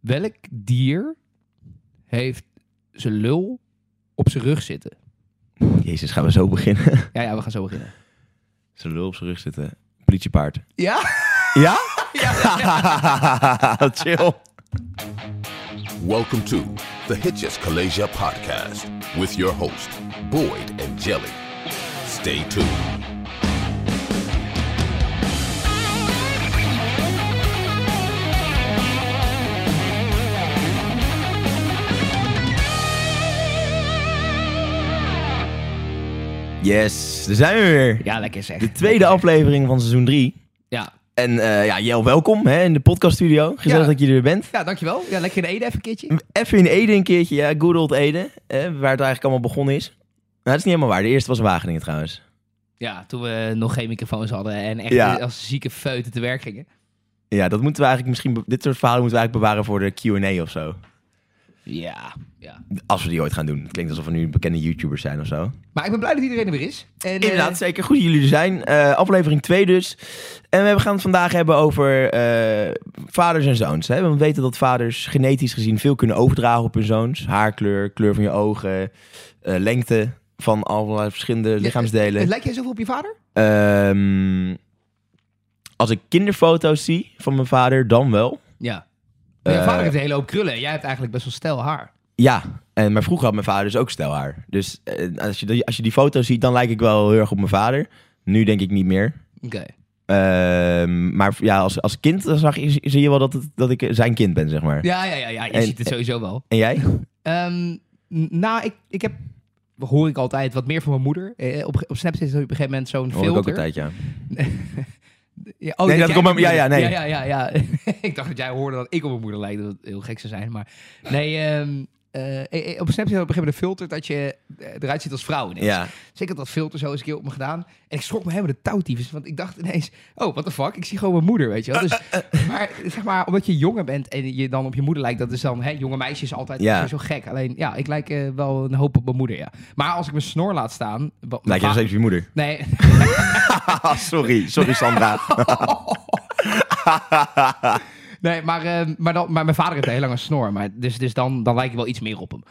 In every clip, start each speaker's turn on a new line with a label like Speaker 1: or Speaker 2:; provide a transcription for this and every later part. Speaker 1: Welk dier heeft zijn lul op zijn rug zitten?
Speaker 2: Jezus, gaan we zo beginnen?
Speaker 1: Ja, ja, we gaan zo beginnen.
Speaker 2: Zijn lul op zijn rug zitten. Politiepaard.
Speaker 1: Ja?
Speaker 2: Ja? Chill.
Speaker 3: Welcome to the Hitches Kalasia podcast with your host, Boyd and Jelly. Stay tuned.
Speaker 2: Yes, daar zijn we weer.
Speaker 1: Ja, lekker zeg.
Speaker 2: De tweede aflevering van seizoen 3.
Speaker 1: Ja.
Speaker 2: En eh, ja, Jel, welkom hè, in de podcaststudio. Gezellig
Speaker 1: Ja.
Speaker 2: dat je er weer bent.
Speaker 1: ja, dankjewel. Ja, lekker in Ede even een keertje.
Speaker 2: Even in Ede een keertje, ja, good old Ede. Hè, waar het eigenlijk allemaal begonnen is. Nou, dat is niet helemaal waar. De eerste was Wageningen trouwens.
Speaker 1: Ja, toen we nog geen microfoons hadden en echt
Speaker 2: Ja.
Speaker 1: als zieke feuten te werk gingen.
Speaker 2: Ja, dat moeten we eigenlijk misschien... be- Dit soort verhalen moeten we eigenlijk bewaren voor de Q&A of zo.
Speaker 1: Ja, ja.
Speaker 2: Als we die ooit gaan doen. Het klinkt alsof we nu bekende YouTubers zijn of zo.
Speaker 1: Maar ik ben blij dat iedereen er weer is. En, eh,
Speaker 2: Inderdaad, zeker. Goed dat jullie er zijn. Eh, aflevering 2 dus. En we gaan het vandaag hebben over eh, vaders en zoons. Hè? Want we weten dat vaders genetisch gezien veel kunnen overdragen op hun zoons. Haarkleur, kleur van je ogen, eh, lengte van allerlei verschillende lichaamsdelen.
Speaker 1: Lijk jij zoveel op je vader?
Speaker 2: Ehm, als ik kinderfoto's zie van mijn vader, dan wel.
Speaker 1: Ja. Mijn
Speaker 2: Eh,
Speaker 1: vader heeft een hele hoop krullen. en Jij hebt eigenlijk best wel stijl haar.
Speaker 2: Ja, en, maar vroeger had mijn vader dus ook stelhaar. Dus eh, als, je, die- als je die foto's ziet, dan lijk ik wel heel erg op mijn vader. Nu denk ik niet meer.
Speaker 1: Oké.
Speaker 2: Ehm, maar ja, als, als kind dan zag, je- zie je wel dat, het, dat ik zijn kind ben, zeg maar.
Speaker 1: Ja, ja, ja, ja. Je
Speaker 2: En-
Speaker 1: ziet het sowieso wel.
Speaker 2: En jij?
Speaker 1: Ehm, n- nou, ik, ik heb, hoor ik altijd, wat meer van mijn moeder. Eh, op, ge- op Snapchat is er op een gegeven moment zo'n
Speaker 2: Hoor ik
Speaker 1: filter.
Speaker 2: ook altijd, ja.
Speaker 1: Ja, oh,
Speaker 2: Nee, dat
Speaker 1: jij
Speaker 2: komt
Speaker 1: op je
Speaker 2: maar- ja,
Speaker 1: moeder- ja,
Speaker 2: ja,
Speaker 1: ja, ja, ja. ik dacht dat jij hoorde dat ik op mijn moeder lijkt. Dat het heel gek zou zijn. Maar nee, ehm, eh, eh, eh, op Snapchat op een gegeven moment een filter dat je eh, eruit ziet als vrouw. ineens.
Speaker 2: Ja,
Speaker 1: Dus ik had dat filter zo eens een keer op me gedaan. En ik schrok me helemaal de touwtiefes. Want ik dacht ineens, oh, what the fuck, ik zie gewoon mijn moeder, weet je wel.
Speaker 2: Eh,
Speaker 1: Dus, maar zeg maar, omdat je jonger bent en je dan op je moeder lijkt, dat is dan, hè, jonge meisjes altijd
Speaker 2: Ja.
Speaker 1: zo gek. Alleen, ja, ik lijk eh, wel een hoop op mijn moeder, ja. Maar als ik mijn snor laat staan... wat-
Speaker 2: lijkt je nog steeds op je moeder.
Speaker 1: Nee,
Speaker 2: Ah, sorry, sorry Sandra.
Speaker 1: nee maar, eh, maar, dan, maar mijn vader heeft een heel lange snor. Maar dus dus dan, dan lijk ik wel iets meer op hem.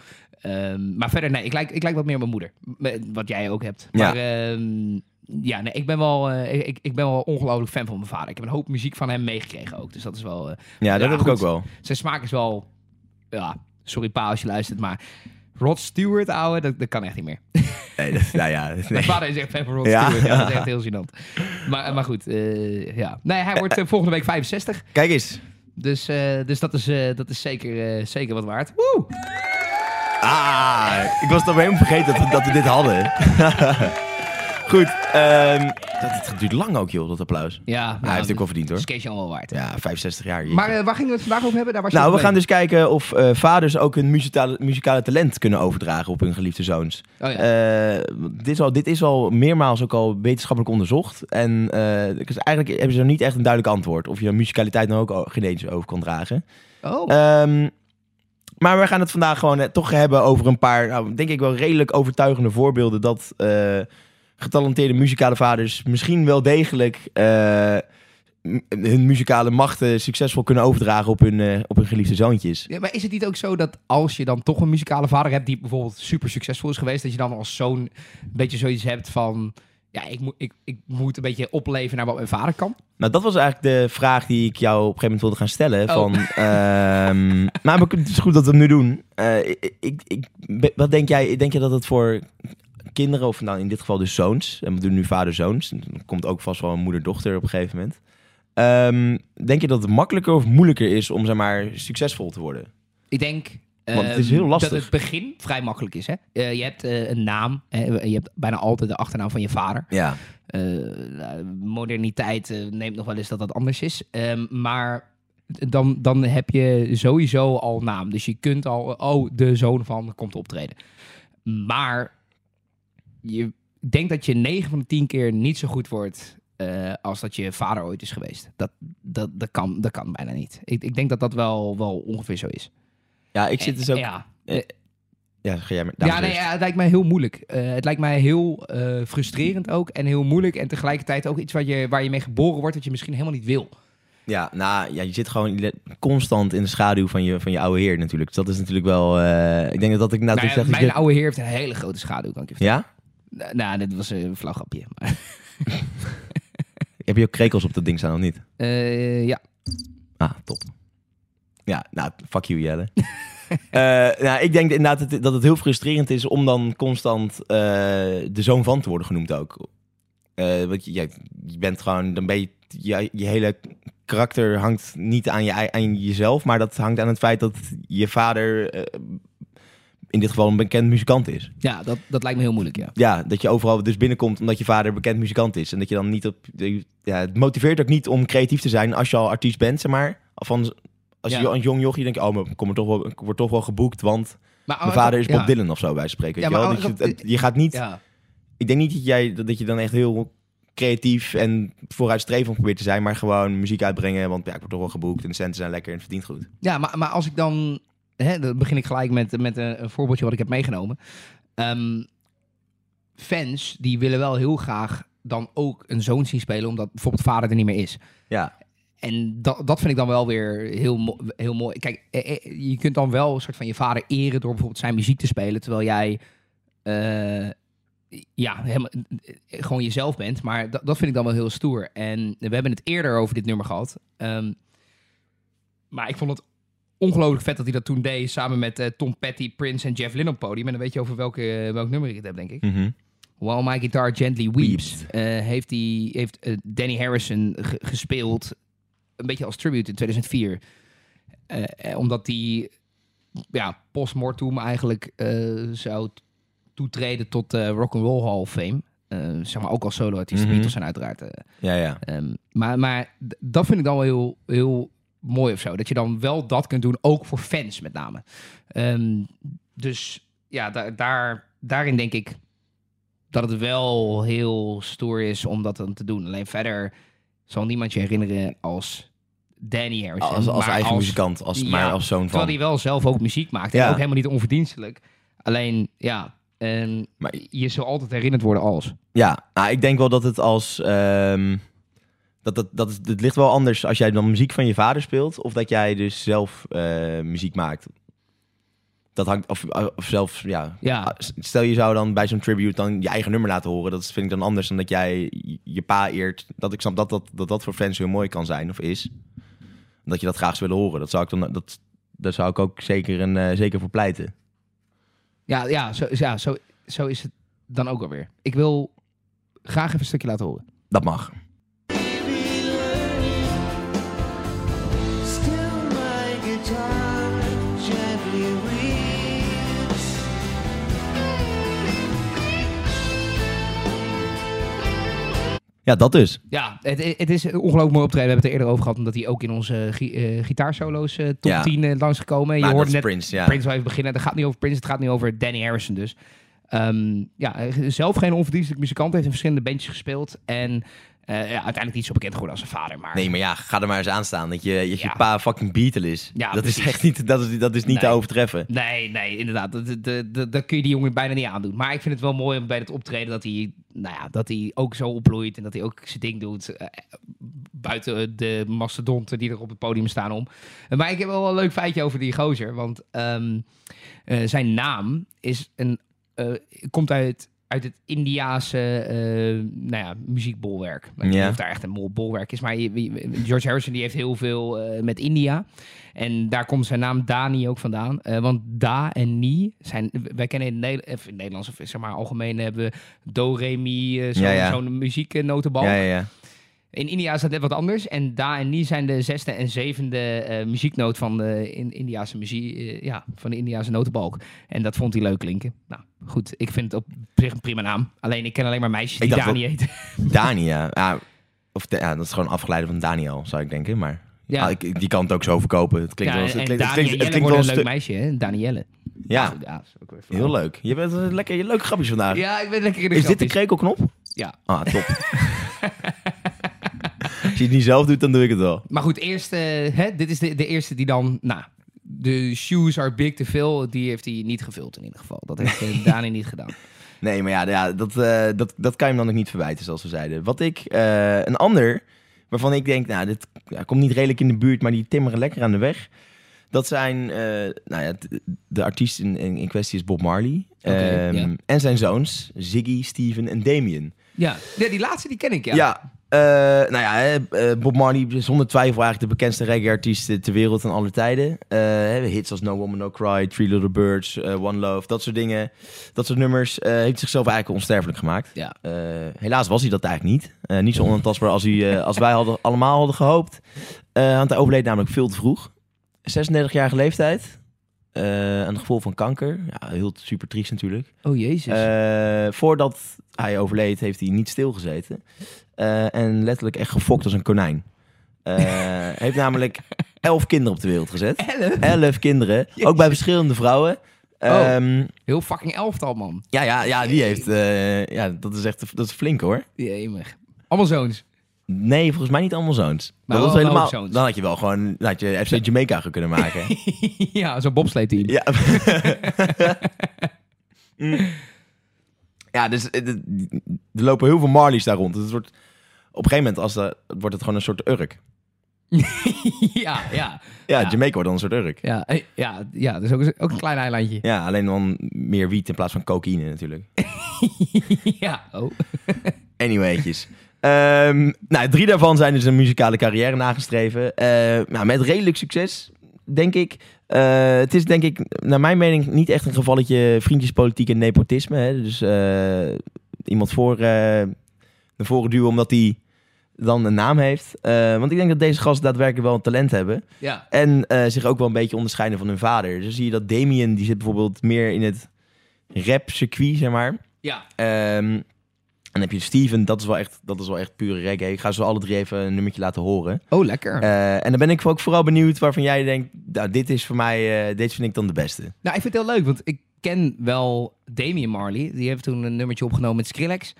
Speaker 1: Ehm, maar verder, nee, ik lijk, ik lijk wat meer op mijn moeder. M- Wat jij ook hebt.
Speaker 2: Ja.
Speaker 1: Maar ehm, ja, nee, ik ben wel, eh, ik, ik ben wel ongelooflijk fan van mijn vader. Ik heb een hoop muziek van hem meegekregen ook. Dus dat is wel... eh,
Speaker 2: Ja, dat
Speaker 1: Ja,
Speaker 2: heb ik
Speaker 1: goed.
Speaker 2: ook wel.
Speaker 1: zijn smaak is wel... Ja, sorry pa als je luistert, maar... Rod Stewart, ouwe, dat, dat kan echt niet meer.
Speaker 2: Nee, dat, nou ja, nee.
Speaker 1: Mijn vader is echt fan van Rod
Speaker 2: Ja.
Speaker 1: Stewart. Ja, dat is echt heel gênant. Maar, maar goed, eh, ja. Nee, hij wordt eh, volgende week 65.
Speaker 2: Kijk eens.
Speaker 1: Dus, eh, dus dat is, eh, dat is zeker, eh, zeker wat waard. Woe!
Speaker 2: Ah, ik was het alweer helemaal vergeten dat we, dat we dit hadden. Goed, ehm, dat, het duurt lang ook joh, dat applaus. Ah,
Speaker 1: Ja, nou,
Speaker 2: hij heeft het ook wel verdiend hoor.
Speaker 1: Dat is Keesje allemaal waard.
Speaker 2: Ja, 65 jaar. hier.
Speaker 1: Maar eh, waar gingen we het vandaag over hebben? Daar was je
Speaker 2: nou, we
Speaker 1: op
Speaker 2: gaan
Speaker 1: bezig.
Speaker 2: dus kijken of eh, vaders ook hun muzikale, muzikale talent kunnen overdragen op hun geliefde zoons.
Speaker 1: Oh, ja.
Speaker 2: Eh, dit, is al, dit is al meermaals ook al wetenschappelijk onderzocht. En eh, dus eigenlijk hebben ze er niet echt een duidelijk antwoord. Of je dan musicaliteit nou ook o- genetisch over kan dragen.
Speaker 1: Oh,
Speaker 2: Ehm, maar we gaan het vandaag gewoon eh, toch hebben over een paar, nou, denk ik wel redelijk overtuigende voorbeelden. Dat eh, getalenteerde muzikale vaders misschien wel degelijk eh, m- hun muzikale machten succesvol kunnen overdragen op hun, eh, op hun geliefde zoontjes.
Speaker 1: ja, maar is het niet ook zo dat als je dan toch een muzikale vader hebt... die bijvoorbeeld super succesvol is geweest... dat je dan als zoon een beetje zoiets hebt van... ja, ik, moet ik, ik moet een beetje opleven naar wat mijn vader kan?
Speaker 2: Nou, dat was eigenlijk de vraag die ik jou op een gegeven moment wilde gaan stellen.
Speaker 1: Oh.
Speaker 2: Van, ehm, maar we kunnen- het is goed dat we het nu doen. Eh, ik, ik, ik- be- wat denk jij? Denk je dat het voor kinderen, of nou in dit geval dus zoons, en we doen nu vader-zoons, en dan komt ook vast wel een moeder-dochter op een gegeven moment. Ehm, denk je dat het makkelijker of moeilijker is om zeg maar succesvol te worden?
Speaker 1: Ik denk...
Speaker 2: Want het is
Speaker 1: ehm,
Speaker 2: heel lastig.
Speaker 1: Dat het begin vrij makkelijk is. Hè? Eh, je hebt eh, een naam. Hè? Je hebt bijna altijd de achternaam van je vader.
Speaker 2: Ja.
Speaker 1: Eh, nou, moderniteit eh, neemt nog wel eens dat dat anders is. Ehm, maar dan, dan heb je sowieso al naam. Dus je kunt al, oh, de zoon van komt optreden. Maar je denkt dat je 9 van de 10 keer niet zo goed wordt eh, als dat je vader ooit is geweest. Dat, dat, dat, kan, dat kan bijna niet. Ik, ik denk dat dat wel, wel ongeveer zo is.
Speaker 2: Ja, ik zit dus ook. Ja,
Speaker 1: Ja,
Speaker 2: ga jij maar.
Speaker 1: ja,
Speaker 2: dames
Speaker 1: nee,
Speaker 2: eerst.
Speaker 1: ja, het lijkt mij heel moeilijk. Eh, het lijkt mij heel eh, frustrerend ook en heel moeilijk. En tegelijkertijd ook iets waar je, waar je mee geboren wordt, dat je misschien helemaal niet wil.
Speaker 2: Ja, nou, ja, je zit gewoon le- constant in de schaduw van je, van je oude heer natuurlijk. Dus dat is natuurlijk wel... eh, ik denk dat, dat ik nou,
Speaker 1: Nou
Speaker 2: toen
Speaker 1: ja,
Speaker 2: zeg...
Speaker 1: mijn
Speaker 2: ik-
Speaker 1: oude heer heeft een hele grote schaduw, kan ik je vertellen.
Speaker 2: Ja?
Speaker 1: Nou, nou, dit was een flauw grapje. Maar,
Speaker 2: Heb je ook krekels op dat ding staan of niet?
Speaker 1: Eh, ja.
Speaker 2: Ah, top. Ja, nou, fuck you Jelle. Eh, nou, ik denk inderdaad dat het, dat het heel frustrerend is om dan constant eh, de zoon van te worden genoemd ook. Eh, want je, ja, je bent gewoon, dan ben je, je, je hele karakter hangt niet aan, je, ei- aan jezelf, maar dat hangt aan het feit dat je vader eh, in dit geval een bekend muzikant is.
Speaker 1: Ja, dat, dat lijkt me heel moeilijk, ja.
Speaker 2: Ja, dat je overal dus binnenkomt omdat je vader bekend muzikant is. En dat je dan niet op... Ja, het motiveert ook niet om creatief te zijn als je al artiest bent, zeg maar. Of van, als je
Speaker 1: Ja.
Speaker 2: een jong jochie denkt, oh, maar ik kom er toch wel, ik word toch wel geboekt, want
Speaker 1: Maar, oh,
Speaker 2: mijn vader is Bob
Speaker 1: ja.
Speaker 2: Dylan of zo, bij spreken.
Speaker 1: Ja,
Speaker 2: Weet je, wel?
Speaker 1: maar
Speaker 2: Dat je,
Speaker 1: andersom-
Speaker 2: het- je gaat niet...
Speaker 1: Ja.
Speaker 2: Ik denk niet dat, jij, dat je dan echt heel creatief en vooruitstrevend probeert te zijn, maar gewoon muziek uitbrengen, want ja, ik word toch wel geboekt en de centen zijn lekker en het verdient goed.
Speaker 1: Ja, maar, maar als ik dan... Hè, dan begin ik gelijk met, met een, een voorbeeldje wat ik heb meegenomen. Ehm, fans, die willen wel heel graag dan ook een zoon zien spelen... omdat bijvoorbeeld vader er niet meer is.
Speaker 2: Ja,
Speaker 1: En dat, dat vind ik dan wel weer heel, mo- heel mooi. Kijk, eh, eh, je kunt dan wel een soort van je vader eren... door bijvoorbeeld zijn muziek te spelen... terwijl jij eh, ja, helemaal, eh, gewoon jezelf bent. Maar dat, dat vind ik dan wel heel stoer. En we hebben het eerder over dit nummer gehad. Ehm, maar ik vond het ongelooflijk vet dat hij dat toen deed... samen met eh, Tom Petty, Prince en Jeff Lynne op het podium. En dan weet je over welke, eh, welk nummer ik het heb, denk ik. While My Guitar Gently Weeps, eh, heeft, die, heeft eh, Danny Harrison ge- gespeeld. Een beetje als tribute in 2004. Eh, eh, omdat die ja, post-mortem eigenlijk eh, zou t- toetreden tot eh, de Rock'n'Roll Hall of Fame. Eh, zeg maar ook als solo-artiest.
Speaker 2: Mhm.
Speaker 1: Beatles zijn uiteraard. eh,
Speaker 2: ja, ja.
Speaker 1: ehm, maar maar d- dat vind ik dan wel heel, heel mooi of zo. Dat je dan wel dat kunt doen, ook voor fans met name. Ehm, dus ja, da- daar, daarin denk ik dat het wel heel stoer is om dat dan te doen. Alleen verder zal niemand je herinneren als Danny Harrison.
Speaker 2: Als, als
Speaker 1: maar
Speaker 2: eigen muzikant, als,
Speaker 1: ja,
Speaker 2: maar als zoon
Speaker 1: Terwijl
Speaker 2: van.
Speaker 1: hij wel zelf ook muziek maakt. En
Speaker 2: Ja.
Speaker 1: ook helemaal niet onverdienstelijk. Alleen, ja... ehm,
Speaker 2: Maar-
Speaker 1: je zal altijd herinnerd worden als.
Speaker 2: Ja, nou, ik denk wel dat het als. ehm, dat, dat, dat, is, het ligt wel anders als jij dan muziek van je vader speelt. Of dat jij dus zelf eh, muziek maakt. Dat hangt. Of, eh, of zelf, ja. Ah,
Speaker 1: Ja,
Speaker 2: Stel je zou dan bij zo'n tribute dan je eigen nummer laten horen. Dat vind ik dan anders dan dat jij je pa eert. Dat ik snap dat dat, dat, dat voor fans heel mooi kan zijn of is. Dat je dat graag zou willen horen. Dat zou ik dan. Dat, daar zou ik ook zeker, een, eh, zeker voor pleiten.
Speaker 1: Ja, ja, zo, ja zo, zo is het dan ook alweer. Ik wil graag even een stukje laten horen.
Speaker 2: Dat mag.
Speaker 4: Still my guitar gently weeps.
Speaker 2: Ja, dat dus.
Speaker 1: Ja, het, het is een ongelooflijk mooi optreden. We hebben het er eerder over gehad, omdat hij ook in onze gi- eh, gitaarsolo's eh, top
Speaker 2: Ja.
Speaker 1: 10 eh, langsgekomen. Je
Speaker 2: Maar
Speaker 1: hoorde
Speaker 2: dat
Speaker 1: net
Speaker 2: is Prince, ja.
Speaker 1: Prince wel even beginnen. Het gaat niet over Prince, het gaat niet over Danny Harrison dus. Ehm, ja, eh, zelf geen onverdienstelijk muzikant. Heeft in verschillende bandjes gespeeld. En eh, ja, uiteindelijk niet zo bekend geworden als zijn vader. Maar
Speaker 2: Nee, maar ja, ga er maar eens aan staan. Dat je, dat je
Speaker 1: Ja.
Speaker 2: pa fucking Beatle is.
Speaker 1: Ja,
Speaker 2: dat is
Speaker 1: precies.
Speaker 2: echt niet, dat is, dat is niet te
Speaker 1: Nee.
Speaker 2: overtreffen.
Speaker 1: Nee, nee, inderdaad. Dat, dat, dat, dat- dat kun je die jongen bijna niet aandoen. Maar ik vind het wel mooi om bij het optreden dat hij, nou ja, dat hij ook zo opbloeit en dat hij ook zijn ding doet. eh, buiten de mastodonten die er op het podium staan om. Maar ik heb wel een leuk feitje over die gozer. Want ehm, eh, zijn naam is een, eh, komt uit, uit het Indiaanse eh, nou ja, muziekbolwerk. Ik weet niet
Speaker 2: Ja.
Speaker 1: of daar echt een mol- bolwerk is. Maar je- je- George Harrison die heeft heel veel eh, met India. En daar komt zijn naam Dani ook vandaan. Eh, want Da en Ni zijn... Wij kennen in, Nederland, in het Nederlands, of zeg maar algemeen, hebben we Do, Re, Mi, eh, zo'n
Speaker 2: Ja, ja.
Speaker 1: zo'n muzieknotenbalk.
Speaker 2: Ja, ja, ja.
Speaker 1: In India is dat net wat anders. En Da en Ni zijn de zesde en zevende eh, muzieknoot van de in, Indiaanse muziek, eh, ja, van de Indiaanse notenbalk. En dat vond hij leuk klinken. Nou, goed, ik vind het op zich een prima naam. Alleen ik ken alleen maar meisjes die
Speaker 2: Ik dacht
Speaker 1: Dani heten.
Speaker 2: Dania. Ja, of da- ja, dat is gewoon afgeleid van Daniel, zou ik denken. Maar
Speaker 1: Ja.
Speaker 2: ja. ik, ik- die kan het ook zo verkopen. Het klinkt
Speaker 1: Ja,
Speaker 2: wel het
Speaker 1: en
Speaker 2: klinkt, het klinkt, het
Speaker 1: Danielle
Speaker 2: klinkt
Speaker 1: wordt
Speaker 2: wel
Speaker 1: een
Speaker 2: een
Speaker 1: leuk
Speaker 2: stuk-
Speaker 1: meisje, hè? Danielle.
Speaker 2: Ja,
Speaker 1: Goed, ja, is ook weer flauw.
Speaker 2: heel leuk. Je bent een lekker, je leuk grapjes vandaag.
Speaker 1: Ja, ik ben lekker in de
Speaker 2: is dit de
Speaker 1: grapjes.
Speaker 2: krekelknop?
Speaker 1: Ja.
Speaker 2: Ah, top. Als je het niet zelf doet, dan doe ik het wel.
Speaker 1: Maar goed, eerst, eh, hè, dit is de, de eerste die dan... Nou, de shoes are big te veel. Die heeft hij niet gevuld in ieder geval. Dat heeft eh, Dani niet gedaan.
Speaker 2: Nee, maar ja, ja dat, eh, dat, dat kan je hem dan ook niet verwijten, zoals we zeiden. Wat ik, eh, een ander Waarvan ik denk, nou, dit ja, komt niet redelijk in de buurt, maar die timmeren lekker aan de weg. Dat zijn, eh, nou ja, t- de artiest in, in, in kwestie is Bob Marley.
Speaker 1: Oké,
Speaker 2: Ehm,
Speaker 1: ja.
Speaker 2: En zijn zoons, Ziggy, Steven en Damien.
Speaker 1: Ja. ja, die laatste die ken ik, ja.
Speaker 2: Ja, eh, nou ja, hè, eh, Bob Marley is zonder twijfel eigenlijk de bekendste reggae-artiest ter wereld van alle tijden. Eh, hè, hits als No Woman No Cry, Three Little Birds, eh, One Love, dat soort dingen. Dat soort nummers eh, heeft zichzelf eigenlijk onsterfelijk gemaakt.
Speaker 1: Ja.
Speaker 2: Eh, helaas was hij dat eigenlijk niet. Eh, niet zo onantastbaar als, hij, eh, als wij hadden, allemaal hadden gehoopt. Eh, want hij overleed namelijk veel te vroeg. 36-jarige leeftijd. Eh, aan het gevolg van kanker. Ja, heel super triest natuurlijk.
Speaker 1: Oh, jezus. Dus-
Speaker 2: Eh, voordat hij overleed, heeft hij niet stilgezeten. Eh en letterlijk echt gefokt als een konijn. Eh, heeft namelijk elf kinderen op de wereld gezet.
Speaker 1: Elf?
Speaker 2: Elf kinderen. Ook bij verschillende vrouwen.
Speaker 1: Oh.
Speaker 2: Ehm,
Speaker 1: Heel fucking elftal, man.
Speaker 2: ja, ja, ja, die heeft... eh, ja, dat is echt dat is flink hoor.
Speaker 1: Jemig. Allemaal zoons.
Speaker 2: Nee, volgens mij niet allemaal zoons.
Speaker 1: Maar
Speaker 2: dat was
Speaker 1: wel
Speaker 2: helemaal,
Speaker 1: hoofdzoons.
Speaker 2: dan had je wel gewoon dan had je FC Jamaica ge- kunnen maken.
Speaker 1: ja, zo'n bobsleeteam.
Speaker 2: Ja. Mm. ja, dus eh, de- er lopen heel veel Marlies daar rond. Dus het wordt, op een gegeven moment als dat, wordt het gewoon een soort Urk.
Speaker 1: ja, ja.
Speaker 2: Ja,
Speaker 1: Ja.
Speaker 2: Jamaica wordt dan een soort Urk.
Speaker 1: Ja, eh, ja, ja, dat is ook, ook een klein eilandje.
Speaker 2: Ja, alleen dan meer wiet in plaats van cocaïne natuurlijk.
Speaker 1: Ja, oh.
Speaker 2: Anyway'tjes. Ehm, nou, drie daarvan zijn dus een muzikale carrière nagestreven. Eh, nou, met redelijk succes, denk ik. Eh, het is denk ik, naar mijn mening, niet echt een gevalletje vriendjespolitiek en nepotisme. Hè? Dus eh, iemand voor, eh naar voren duwen omdat hij dan een naam heeft. Eh, want ik denk dat deze gasten daadwerkelijk wel een talent hebben.
Speaker 1: Ja.
Speaker 2: En eh, zich ook wel een beetje onderscheiden van hun vader. Dus dan zie je dat Damien, die zit bijvoorbeeld meer in het rap-circuit, zeg maar.
Speaker 1: Ja.
Speaker 2: Ehm, en dan heb je Steven, dat is wel echt, dat is wel echt pure reggae. Ik ga ze alle drie even een nummertje laten horen.
Speaker 1: Oh, lekker.
Speaker 2: Eh, en dan ben ik ook vooral benieuwd waarvan jij denkt, nou, dit is voor mij, eh, dit vind ik dan de beste.
Speaker 1: Nou, ik vind het heel leuk, want ik ken wel Damien Marley. Die heeft toen een nummertje opgenomen met Skrillex.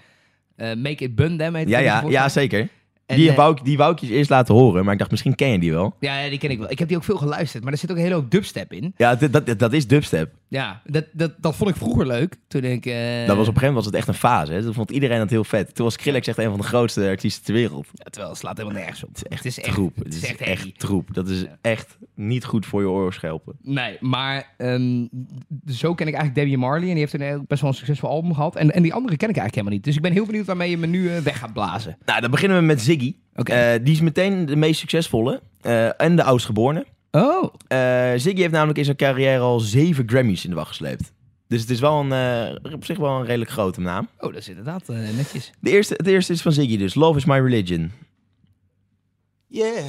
Speaker 1: Eh, Make It Bun Them heet
Speaker 2: Ja,
Speaker 1: het
Speaker 2: ja,
Speaker 1: volgens
Speaker 2: ja,
Speaker 1: mij.
Speaker 2: zeker.
Speaker 1: En,
Speaker 2: die,
Speaker 1: eh,
Speaker 2: wou ik, die wou ik je eerst laten horen, maar ik dacht, misschien ken je die wel.
Speaker 1: ja, ja, die ken ik wel. Ik heb die ook veel geluisterd, maar er zit ook een hele hoop dubstep in.
Speaker 2: Ja, dat, dat, dat is dubstep.
Speaker 1: Ja, dat, dat, dat vond ik vroeger leuk. Toen ik... eh,
Speaker 2: Dat was op een gegeven moment was het echt een fase. Hè? Toen vond iedereen dat heel vet. Toen was Skrillex echt een van de grootste artiesten ter wereld.
Speaker 1: ja, terwijl, het slaat helemaal nergens op. Het is echt, het is echt
Speaker 2: Troep. Het is echt,
Speaker 1: herrie.
Speaker 2: troep. Dat is echt niet goed voor je oorschelpen.
Speaker 1: Nee, maar ehm, d- zo ken ik eigenlijk Debbie Marley. En die heeft een heel- best wel een succesvol album gehad. En, en die andere ken ik eigenlijk helemaal niet. Dus ik ben heel benieuwd waarmee je me nu eh, weg gaat blazen.
Speaker 2: Nou, dan beginnen we met Ziggy.
Speaker 1: Oké.
Speaker 2: Eh, die is meteen de meest succesvolle eh, en de oudstgeborene.
Speaker 1: Oh,
Speaker 2: Eh, Ziggy heeft namelijk in zijn carrière al zeven Grammys in de wacht gesleept. Dus het is wel een, eh, op zich wel een redelijk grote naam.
Speaker 1: oh dat is inderdaad eh, netjes.
Speaker 2: De eerste, het eerste is van Ziggy dus. Love is my religion.
Speaker 4: Yeah.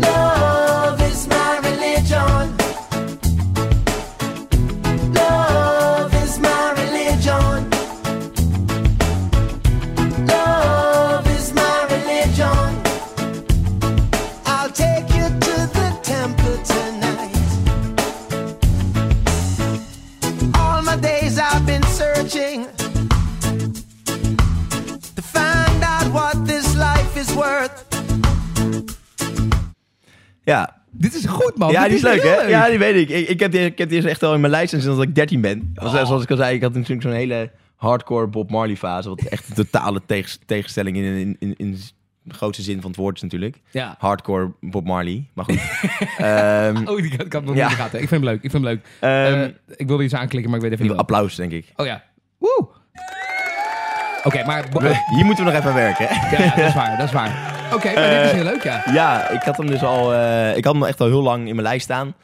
Speaker 4: Love is my religion. Love is my religion. Love is my religion. I'll take you to the temple tonight. All my days I've been searching to find out what this life is worth.
Speaker 2: Ja,
Speaker 1: Dit Oh, is goed, man.
Speaker 2: ja
Speaker 1: Dit
Speaker 2: die is leuk
Speaker 1: heel
Speaker 2: hè? Ja, die weet ik. Ik, ik, heb die, ik heb die echt al in mijn lijst sinds dat ik 13 ben. Want Zoals ik al zei, ik had natuurlijk zo'n hele hardcore Bob Marley fase. Wat echt een totale tegens- tegenstelling in, in, in, in de grootste zin van het woord is natuurlijk.
Speaker 1: Ja.
Speaker 2: Hardcore Bob Marley. Maar goed. Ehm,
Speaker 1: Oh, die kan ik had nog
Speaker 2: Ja.
Speaker 1: niet in de gaten. Ik vind hem leuk, ik vind hem leuk.
Speaker 2: Ehm,
Speaker 1: Eh, ik wilde iets aanklikken, maar ik weet even niet wat.
Speaker 2: applaus denk ik.
Speaker 1: Oh ja. Woe! Oké, maar... bo- ja,
Speaker 2: Hier moeten we nog even aan werken. hè?
Speaker 1: ja, dat is waar, dat is waar. Oké, maar dit is heel leuk, ja.
Speaker 2: Ja, ik had hem dus al. eh, ik had hem echt al heel lang in mijn lijst staan.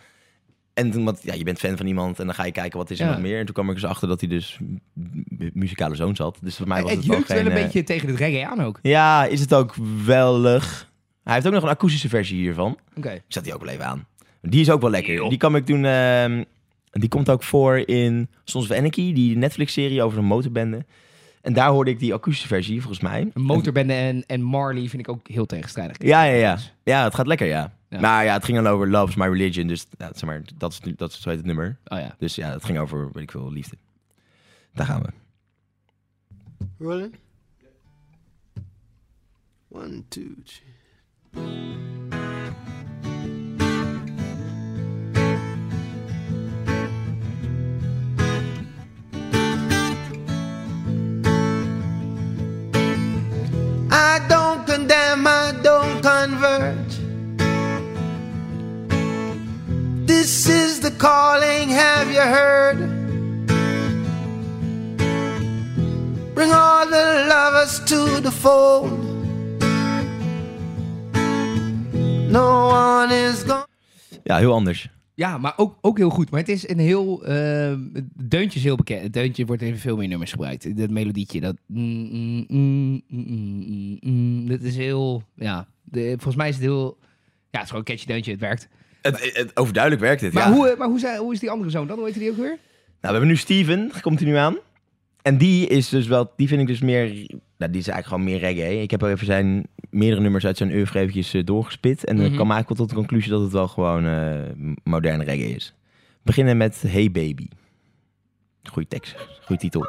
Speaker 2: En toen, want ja, je bent fan van iemand en dan ga je kijken wat is er
Speaker 1: Ja.
Speaker 2: nog meer. En toen kwam ik dus achter dat hij dus m- m- muzikale zoon zat. Dus voor mij was
Speaker 1: Het
Speaker 2: het wel
Speaker 1: jeukt
Speaker 2: geen...
Speaker 1: wel een
Speaker 2: eh,
Speaker 1: beetje tegen het reggae aan ook.
Speaker 2: Ja, is het ook welig. Hij heeft ook nog een akoestische versie hiervan.
Speaker 1: Oké.
Speaker 2: Ik zat die ook wel even aan. Die is ook wel lekker. Die kwam ik toen... ehm, die komt ook voor in Sons of Anarchy, die Netflix-serie over een motorbende. En daar hoorde ik die akoestische versie, volgens mij.
Speaker 1: Een Motorbende en, en Marley vind ik ook heel tegenstrijdig.
Speaker 2: Ja, ja, ja. Ja, het gaat lekker, ja.
Speaker 1: Ja.
Speaker 2: Maar ja, het ging dan over Love's My Religion. Dus ja, zeg maar, dat is, dat is zo heet het nummer.
Speaker 1: Oh ja.
Speaker 2: Dus ja, het ging over, weet ik veel, liefde. Daar gaan we.
Speaker 4: Rolling. One, two, three. I don't condemn, I don't
Speaker 5: calling, have you heard? Bring all the lovers to the fold. No one is gone.
Speaker 2: Ja, heel anders.
Speaker 1: Ja, maar ook, ook heel goed. Maar het is een heel... ehm, Deuntje is heel bekend. Het Deuntje wordt in veel meer nummers gebruikt. Dat melodietje, dat... mm, mm, mm, mm, mm, mm, mm. Dat is heel... Ja, de, volgens mij is het heel... Ja, het is gewoon een catchy deuntje. Het werkt.
Speaker 2: Het, het- overduidelijk werkt dit,
Speaker 1: Maar,
Speaker 2: ja.
Speaker 1: hoe, eh, maar hoe, zei- hoe is die andere zoon dan? Hoe heet die ook weer?
Speaker 2: Nou, we hebben nu Steven, komt hij nu aan. En die is dus wel, die vind ik dus meer, nou, die is eigenlijk gewoon meer reggae. Ik heb wel even zijn meerdere nummers uit zijn oeuvre eventjes eh, doorgespit. En dan
Speaker 1: Mhm.
Speaker 2: kwam eigenlijk wel tot de conclusie dat het wel gewoon eh, moderne reggae is. We beginnen met Hey Baby. Goeie tekst, goede titel.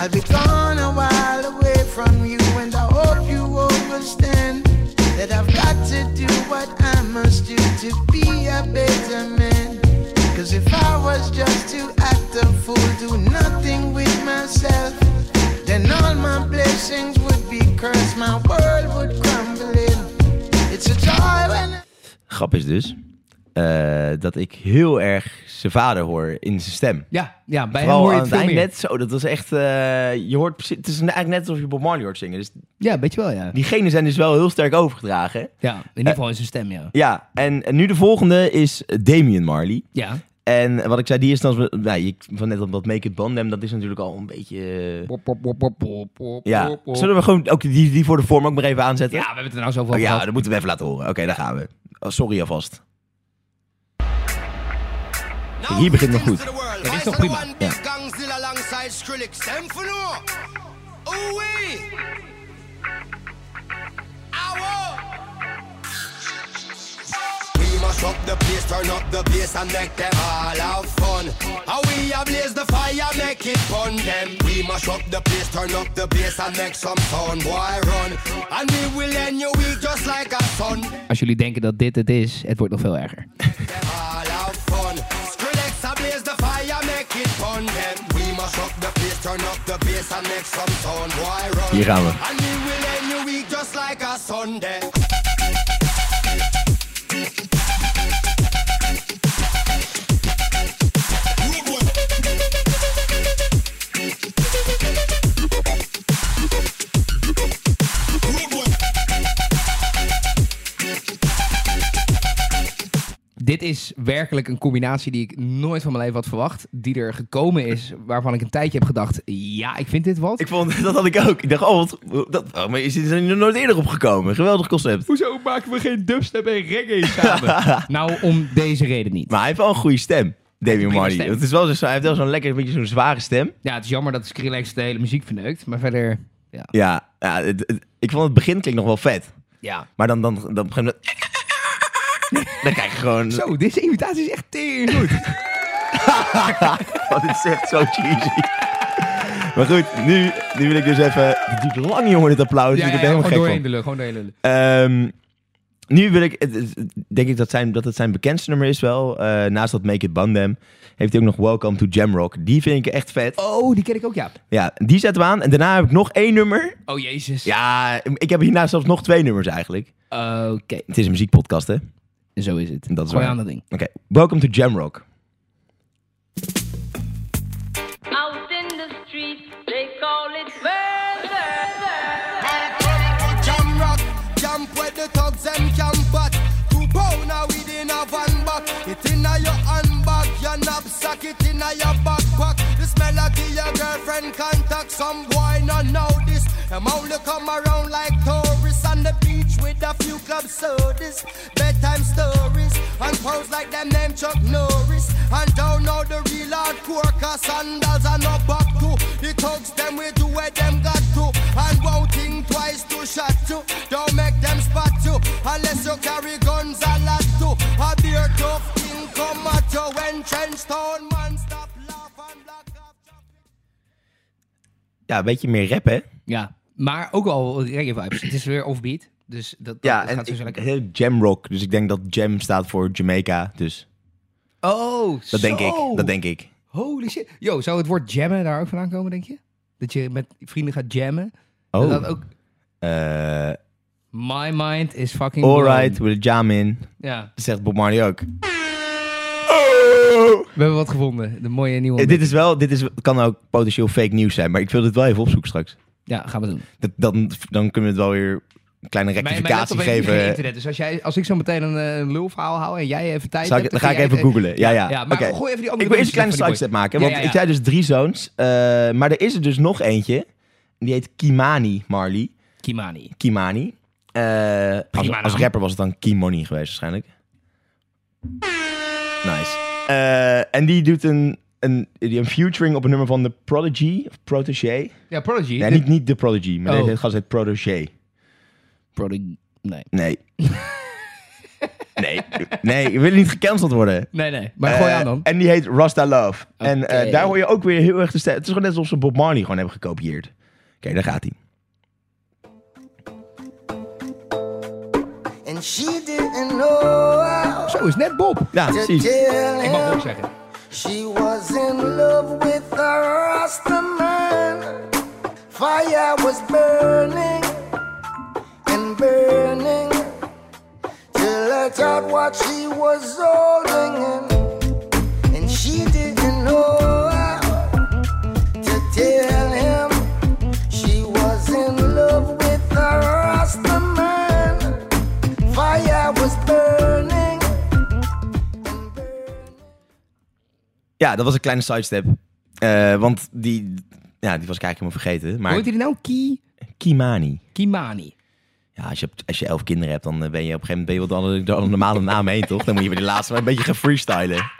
Speaker 5: I've been gone a while away from you, and I hope you understand that I've got to do what I must do to be a better man. Cause if I was just to act a fool, do nothing with myself, then all my blessings would be cursed, my world would crumble in. It's a joy when I.
Speaker 2: Grap is dus eh, dat ik heel erg zijn vader hoor in zijn stem.
Speaker 1: Ja, ja bij hem
Speaker 2: Vooral
Speaker 1: hoor je
Speaker 2: aan
Speaker 1: het
Speaker 2: het
Speaker 1: veel
Speaker 2: eind
Speaker 1: meer.
Speaker 2: net zo, dat was echt, eh, je hoort precies, het is eigenlijk net alsof je Bob Marley hoort zingen. Dus
Speaker 1: Ja, weet je wel, ja.
Speaker 2: diegenen zijn dus wel heel sterk overgedragen.
Speaker 1: Ja, in ieder geval in zijn stem, ja.
Speaker 2: Ja, en, en nu de volgende is Damien Marley.
Speaker 1: Ja.
Speaker 2: En wat ik zei, die is dan... Nou, je, van net op dat Make It Bondem, dat is natuurlijk al een beetje... eh,
Speaker 1: Pop, pop, pop, pop, pop, pop,
Speaker 2: ja,
Speaker 1: pop, pop.
Speaker 2: zullen we gewoon ook die, die voor de vorm ook maar even aanzetten?
Speaker 1: Ja, we hebben het er nou zoveel
Speaker 2: Oh,
Speaker 1: over
Speaker 2: ja
Speaker 1: gehad.
Speaker 2: dat moeten we even laten horen. Oké, daar gaan we. Oh, sorry alvast. Kijk, hier begint nog goed.
Speaker 1: dit is toch prima?
Speaker 2: Ja.
Speaker 4: We must up the place, turn up the bass and make them all have fun. How we ablaze the fire, make it fun them. We must up the place, turn up the bass and make some sound, boy run. And we will end your week just like a sun.
Speaker 1: Als jullie denken dat dit het is, het wordt nog veel erger.
Speaker 4: Them all have fun. Skrillex ablaze the fire, make it fun them. We must up the place, turn up the bass and make some sound, boy run.
Speaker 2: Hier gaan we.
Speaker 4: And we will end your week just like a Sunday.
Speaker 1: Dit is werkelijk een combinatie die ik nooit van mijn leven had verwacht. Die er gekomen is, waarvan ik een tijdje heb gedacht... Ja, ik vind dit wat.
Speaker 2: Ik vond, dat had ik ook. Ik dacht, oh, wat, dat, oh maar is dit er nog nooit eerder opgekomen? Geweldig concept.
Speaker 1: Hoezo maken we geen dubstep en reggae samen? nou, om deze reden niet.
Speaker 2: Maar hij heeft wel een goede stem, Damien
Speaker 1: Prima
Speaker 2: Marley.
Speaker 1: stem.
Speaker 2: Het is wel zo, hij heeft wel zo'n lekker, beetje zo'n zware stem.
Speaker 1: Ja, het is jammer dat Skrillex de hele muziek verneukt. Maar verder, ja.
Speaker 2: Ja, ja het- het- ik vond het begin klinkt nog wel vet.
Speaker 1: ja.
Speaker 2: Maar dan, dan, dan, op een gegeven moment... Dan krijg je gewoon...
Speaker 1: Zo, deze imitatie is echt tering goed.
Speaker 2: Oh, dit is echt zo cheesy. Maar goed, nu, nu wil ik dus even... Het duurt lang, jongen, dit applaus.
Speaker 1: ja,
Speaker 2: ik
Speaker 1: ja, ja,
Speaker 2: ben helemaal
Speaker 1: gewoon doorheen
Speaker 2: gek van.
Speaker 1: lullen, gewoon doorheen lullen.
Speaker 2: Ehm, nu wil ik... het- het- Denk ik dat, zijn, dat het zijn bekendste nummer is wel. Eh, naast dat Make It Bandem heeft hij ook nog Welcome to Jamrock. Die vind ik echt vet.
Speaker 1: Oh, die ken ik ook, ja.
Speaker 2: Ja, die zetten we aan. En daarna heb ik nog één nummer.
Speaker 1: Oh, jezus.
Speaker 2: Ja, ik heb hierna zelfs nog twee nummers eigenlijk.
Speaker 1: Oké,
Speaker 2: Het is een muziekpodcast, hè? Oké,
Speaker 1: zo is het.
Speaker 2: Dat is
Speaker 1: Gooi
Speaker 2: waar.
Speaker 1: aan dat ding.
Speaker 2: Welcome to Jamrock.
Speaker 6: Out in the street, they call it murder.
Speaker 4: Jam rock, jump with the thugs and camp back. Two pound now we in a van back. It inna your handbag, your knapsack, it inna your backpack. This melody your girlfriend contact. Some boy not know this. Them only come around like tourists on the beach with a few club sodas, bedtime stories, and pose like them name Chuck Norris. And don't know the real hardcore 'cause sandals are no back to. The thugs them we do where them got to, and won't think twice to shot you. Don't make them spot you unless you carry guns a lot too. A beer tough thing come at you when trench town man stop laugh and block off.
Speaker 2: Ja, een beetje meer rap, hè?
Speaker 1: Ja, Maar ook al reggae vibes. Het is weer offbeat. Dus dat, dat
Speaker 2: Ja,
Speaker 1: dat
Speaker 2: en
Speaker 1: gaat sowieso
Speaker 2: ik-
Speaker 1: lekker.
Speaker 2: heel jam rock. Dus ik denk dat jam staat voor Jamaica. Dus
Speaker 1: Oh,
Speaker 2: dat denk
Speaker 1: zo.
Speaker 2: ik. Dat denk ik.
Speaker 1: Holy shit. Yo, zou het woord jammen daar ook vandaan komen, denk je? Dat je met vrienden gaat jammen?
Speaker 2: Oh.
Speaker 1: Dat dat ook...
Speaker 2: Eh,
Speaker 1: My mind is fucking
Speaker 2: alright,
Speaker 1: blown.
Speaker 2: with a jam in.
Speaker 1: Ja,
Speaker 2: Dat zegt Bob Marley ook.
Speaker 1: we hebben wat gevonden. De mooie nieuwe...
Speaker 2: Eh, dit is wel, dit is, kan ook potentieel fake nieuws zijn, maar ik wil dit wel even opzoeken straks.
Speaker 1: Ja, gaan we doen.
Speaker 2: Dat, dan, dan kunnen we het wel weer een kleine
Speaker 1: Mijn, mijn
Speaker 2: rectificatie
Speaker 1: laptop heeft niet geen
Speaker 2: geven.
Speaker 1: internet. Dus als, jij, als ik zo meteen een, eh, een lulverhaal hou en jij even tijd
Speaker 2: Zal ik,
Speaker 1: hebt...
Speaker 2: dan ga ik
Speaker 1: kun
Speaker 2: even
Speaker 1: jij het-
Speaker 2: googlen. Ja, ja.
Speaker 1: eh, Ja, maar
Speaker 2: Oké.
Speaker 1: gooi even die andere
Speaker 2: Ik wil eerst een kleine
Speaker 1: dingetjes af van die
Speaker 2: sidestep maken,
Speaker 1: Ja,
Speaker 2: want
Speaker 1: ja,
Speaker 2: ik
Speaker 1: ja.
Speaker 2: zei dus drie zoons. eh, maar er is er dus nog eentje. Die heet Kimani Marley.
Speaker 1: Kimani.
Speaker 2: Kimani. Eh, als,
Speaker 1: naam.
Speaker 2: als rapper was het dan Kimoni geweest waarschijnlijk. Nice. Eh, en die doet een, een, die- een featuring op een nummer van The Prodigy. Of Protégé.
Speaker 1: Ja, Prodigy.
Speaker 2: Nee,
Speaker 1: De-
Speaker 2: niet, niet The Prodigy, maar
Speaker 1: Oh.
Speaker 2: deze gast heet Protégé.
Speaker 1: Prodigy. Nee.
Speaker 2: Nee. nee. Nee, we willen niet gecanceld worden.
Speaker 1: Nee, nee. Maar gooi
Speaker 2: Eh,
Speaker 1: aan dan.
Speaker 2: En die heet Rasta Love. En
Speaker 1: Oké.
Speaker 2: eh, daar hoor je ook weer heel erg de stem. Het is gewoon net alsof ze Bob Marley gewoon hebben gekopieerd. Oké, daar gaat hij.
Speaker 4: And she didn't know how
Speaker 1: Zo is net Bob.
Speaker 2: Ja,
Speaker 4: to
Speaker 2: precies.
Speaker 4: tell
Speaker 1: Ik mag
Speaker 4: him
Speaker 1: Bob zeggen.
Speaker 4: she was in love with a Rasta man. Fire was burning and burning to let out what she was holding in. And she didn't know how to tell him she was in love with a Rasta man. Fire was burning and burning.
Speaker 2: Ja, dat was een kleine sidestep. Eh, want die, ja, die was ik eigenlijk helemaal vergeten. Maar
Speaker 1: Hoe heet hij nou? Ki
Speaker 2: Kimani.
Speaker 1: Kimani.
Speaker 2: Ja, als je, als je elf kinderen hebt, dan eh, ben je op een gegeven moment ben je wel door alle- door alle normale naam heen, toch? Dan moet je bij de laatste maar een beetje gaan freestylen.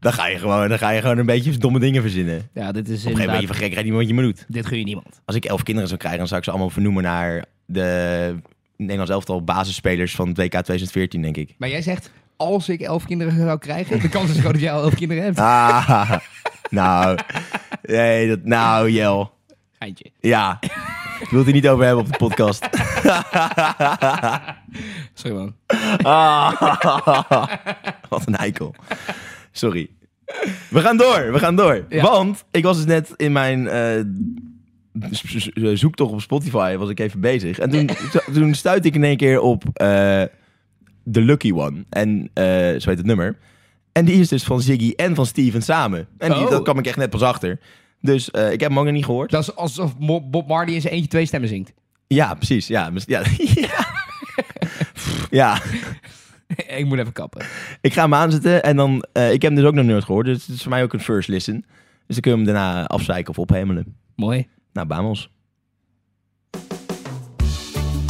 Speaker 2: Dan ga je gewoon, dan ga je gewoon een beetje domme dingen verzinnen. Op een
Speaker 1: Ja, dit is
Speaker 2: gegeven moment ben je
Speaker 1: inderdaad...
Speaker 2: van gek, niet wat je me doet.
Speaker 1: Dit gun je niemand.
Speaker 2: als ik elf kinderen zou krijgen, dan zou ik ze allemaal vernoemen naar de Nederlands elftal basisspelers van het WK 2014, denk ik.
Speaker 1: Maar jij zegt, als ik elf kinderen zou krijgen... De kans is groot dat jij al elf kinderen hebt.
Speaker 2: Ah, nou, nee, dat, nou, Jel.
Speaker 1: Geintje.
Speaker 2: Ja, ik wil het er niet over hebben op de podcast.
Speaker 1: Sorry man.
Speaker 2: Wat een eikel. Sorry. We gaan door, we gaan door.
Speaker 1: Ja.
Speaker 2: Want ik was dus net in mijn eh, s- s- zoektocht op Spotify, was ik even bezig. En toen, toen stuitte ik in één keer op eh The Lucky One. En eh, zo heet het nummer. En die is dus van Ziggy en van Steven samen. En die,
Speaker 1: Oh.
Speaker 2: dat kwam ik echt net pas achter. Dus eh, ik heb hem ook nog niet gehoord.
Speaker 1: Dat is alsof Mo- Bob Marley in zijn eentje twee stemmen zingt.
Speaker 2: Ja, precies. Ja, mis- ja. ja. ja.
Speaker 1: ik moet even kappen.
Speaker 2: Ik ga hem aanzetten en dan... eh, ik heb hem dus ook nog nooit gehoord, dus het is voor mij ook een first listen. Dus dan kunnen we hem daarna afzeiken of ophemelen.
Speaker 1: Mooi.
Speaker 2: Nou, Bamos.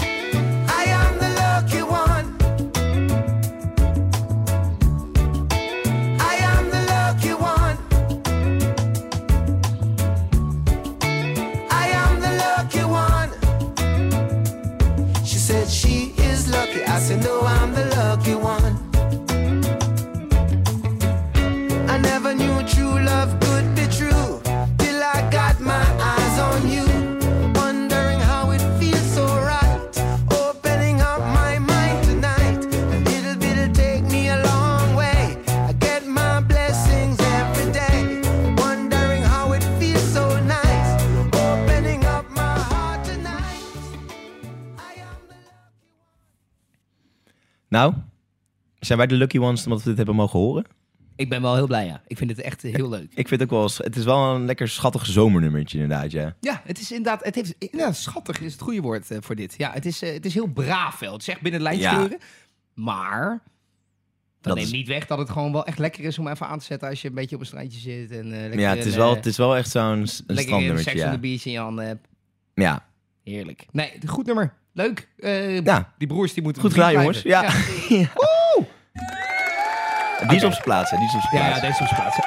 Speaker 4: I am the lucky one. I am the lucky one. I am the lucky one. She said she is lucky. I said, No, I'm the lucky one. I never knew true love could be true till I got my eyes on you. Wondering how it feels so right. Opening up my mind tonight. A little bit'll take me a long way. I get my blessings every day. Wondering how it feels so nice. Opening up my heart tonight. I am the lucky one.
Speaker 2: Nou, zijn wij de lucky ones omdat we dit hebben mogen horen?
Speaker 1: Ik ben wel heel blij, ja. Ik vind het echt eh, heel leuk.
Speaker 2: Ik vind het ook wel... eens- Het is wel een lekker schattig zomernummertje inderdaad, ja.
Speaker 1: Ja, het is inderdaad, het heeft, inderdaad schattig is het goede woord eh, voor dit. Ja, het is, eh, het is heel braaf wel. Het zegt binnen lijnkleuren. Maar dat,
Speaker 2: Dat
Speaker 1: neemt
Speaker 2: is-
Speaker 1: niet weg dat het gewoon wel echt lekker is om even aan te zetten als je een beetje op een strandje zit. En, eh, lekker
Speaker 2: Ja, het
Speaker 1: een,
Speaker 2: is wel,
Speaker 1: eh,
Speaker 2: het is wel echt zo'n s- een
Speaker 1: lekker een
Speaker 2: strandnummertje,
Speaker 1: Sex on the
Speaker 2: ja.
Speaker 1: Beach in je handen hebt.
Speaker 2: Ja,
Speaker 1: Heerlijk. Nee, het- goed nummer. Leuk. Eh,
Speaker 2: Ja.
Speaker 1: Die broers die moeten
Speaker 2: goed
Speaker 1: op de
Speaker 2: gedaan
Speaker 1: beat
Speaker 2: jongens. Ja.
Speaker 1: blijven.
Speaker 2: Ja. Die is op zijn plaats, hè. Die is op zijn
Speaker 1: Ja, ja,
Speaker 2: plaats.
Speaker 1: deze was plaats.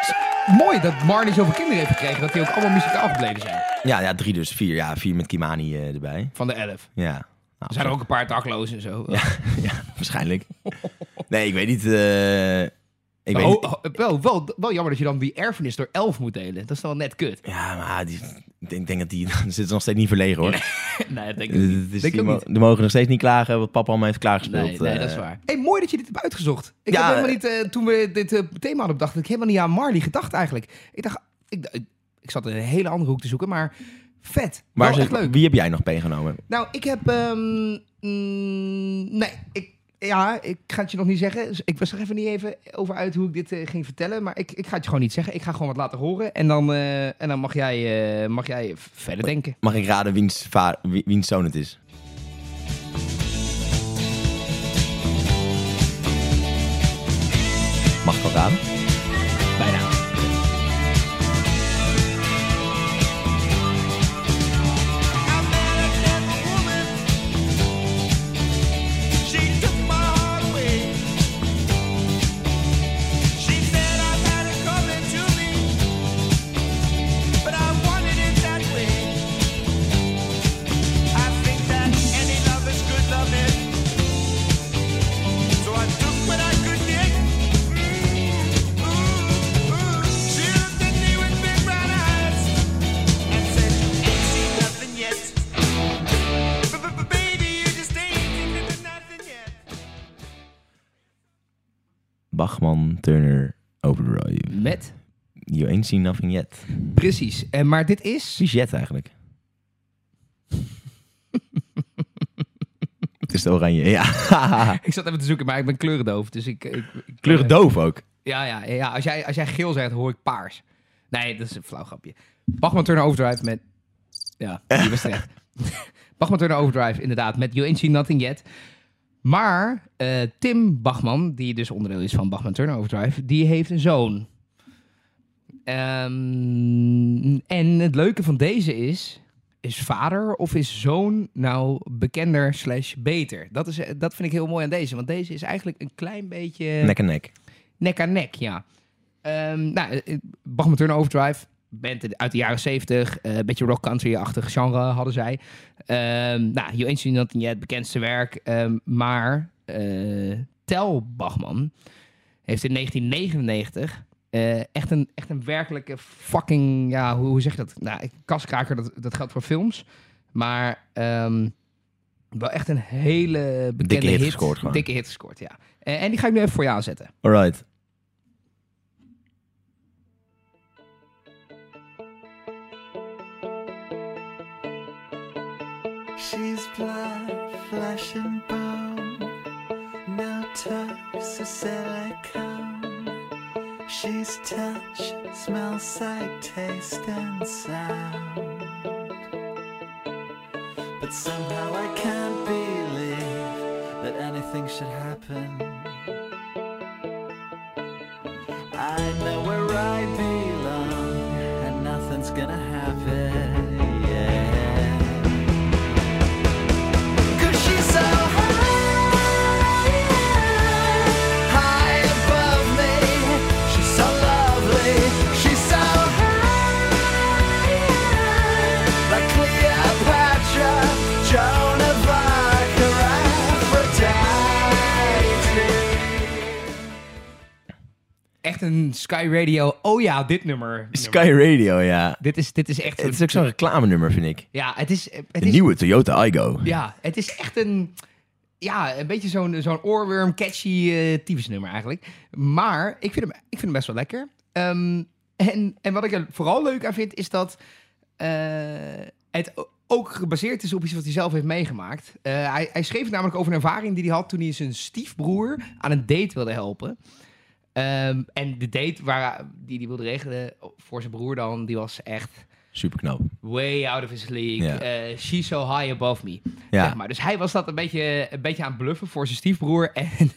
Speaker 1: Mooi dat Marnie zoveel kinderen heeft gekregen dat die ook allemaal muzikaal gebleven zijn.
Speaker 2: Ja, ja, drie dus. Vier, ja. Vier met Kimani eh, erbij.
Speaker 1: Van de elf.
Speaker 2: Ja. Nou,
Speaker 1: Er zijn er ook een paar daklozen en zo.
Speaker 2: Ja, waarschijnlijk. Nee, ik weet niet. eh, ik weet
Speaker 1: Oh,
Speaker 2: niet.
Speaker 1: oh, wel, wel, wel jammer dat je dan die erfenis door elf moet delen. Dat is dan wel net kut.
Speaker 2: Ja, maar die, Ik denk, denk dat die dan zitten ze nog steeds niet verlegen hoor.
Speaker 1: nee, dat denk ik niet.
Speaker 2: Het is-
Speaker 1: Denk ik
Speaker 2: die
Speaker 1: ook
Speaker 2: mo-
Speaker 1: niet.
Speaker 2: die mogen nog steeds niet klagen wat papa allemaal heeft klaargespeeld.
Speaker 1: Nee, nee,
Speaker 2: eh.
Speaker 1: dat is waar. Hey, mooi dat je dit hebt uitgezocht. Ik
Speaker 2: Ja,
Speaker 1: had helemaal niet, eh, toen we dit eh, thema hadden bedacht, had ik helemaal niet aan Marley gedacht eigenlijk. Ik dacht, ik, ik, ik zat in een hele andere hoek te zoeken, maar vet.
Speaker 2: Maar
Speaker 1: Maar
Speaker 2: zeg,
Speaker 1: echt leuk.
Speaker 2: wie heb jij nog meegenomen?
Speaker 1: Nou, ik heb, ehm, mm, nee, ik, ja, ik ga het je nog niet zeggen. Dus Ik was er even niet even over uit hoe ik dit eh, ging vertellen, maar ik, ik ga het je gewoon niet zeggen. Ik ga gewoon wat laten horen en dan, eh, en dan mag, jij, eh, mag jij verder denken.
Speaker 2: Mag ik raden wiens, va- wie- wiens zoon het is? Mag ik al raden?
Speaker 1: Bijna.
Speaker 4: Mm,
Speaker 2: Bachman Turner Overdrive.
Speaker 1: Met?
Speaker 2: You ain't seen nothing yet.
Speaker 1: Precies. Eh, maar dit is...
Speaker 2: Precies jet eigenlijk. het is de oranje, ja.
Speaker 1: Ik zat even te zoeken, maar ik ben kleurendoof, dus ik... ik, ik
Speaker 2: Kleuren doof ook.
Speaker 1: Ja, ja, ja. Als jij, als jij geel zegt, hoor ik paars. Nee, dat is een flauw grapje. Bachman Turner Overdrive met... Ja, die was terecht. Bachman Turner Overdrive, inderdaad, met You Ain't Seen Nothing Yet. Maar eh, Tim Bachman, die dus onderdeel is van Bachman Turner Overdrive, die heeft een zoon. Ehm, en het leuke van deze is... Is vader of is zoon nou bekender slash beter? Dat, is, eh, dat vind ik heel mooi aan deze. Want deze is eigenlijk een klein beetje
Speaker 2: Nek en nek.
Speaker 1: nek aan nek, ja. Ehm nou, eh, Bachman Turner Overdrive, band uit de jaren zeventig, eh, een beetje rock country-achtig genre hadden zij. Ehm nou, You Ain't Seen Nothing Yet, het bekendste werk, ehm, maar eh, Tel Bachman heeft in 1999 eh, echt, een, echt een werkelijke fucking, ja, hoe, hoe zeg je dat? Nou, ik- kaskraker, dat, dat geldt voor films, maar... ehm, wel echt een hele bekende
Speaker 2: Dikke hit gescoord gewoon.
Speaker 1: Dikke hit gescoord, ja. Eh, en die ga ik nu even voor je aanzetten.
Speaker 2: Alright.
Speaker 4: She's blind, flesh and bone. No touch, of silicone. She's touch, smell, sight, taste, and sound. But somehow I can't believe that anything should happen. I know where I belong, and nothing's gonna happen. Yeah. Cause she's so high, high above me. She's so lovely. She's so high, like Cleopatra, Joan of Arc, or Aphrodite.
Speaker 1: echt een Sky Radio. Oh ja, dit nummer. nummer.
Speaker 2: Sky Radio, ja.
Speaker 1: Dit is, dit is echt.
Speaker 2: Het is
Speaker 1: een-
Speaker 2: ook zo'n reclamenummer, vind ik.
Speaker 1: ja, het is. Het
Speaker 2: De
Speaker 1: is
Speaker 2: nieuwe Toyota Igo.
Speaker 1: Ja, het is echt een. Ja, een beetje zo'n zo'n oorworm, catchy eh tyfusnummer eigenlijk. Maar ik vind hem, ik vind hem best wel lekker. Ehm, en, en wat ik er vooral leuk aan vind, is dat eh, het o- ook gebaseerd is op iets wat hij zelf heeft meegemaakt. Eh, hij, hij schreef namelijk over een ervaring die hij had toen hij zijn stiefbroer aan een date wilde helpen. Ehm, en de date waar, die hij wilde regelen voor zijn broer dan, die was echt
Speaker 2: Super knap.
Speaker 1: way out of his league.
Speaker 2: Ja.
Speaker 1: Eh, she's so high above me.
Speaker 2: Ja.
Speaker 1: Zeg maar. Dus hij was dat een beetje, een beetje aan het bluffen voor zijn stiefbroer. En,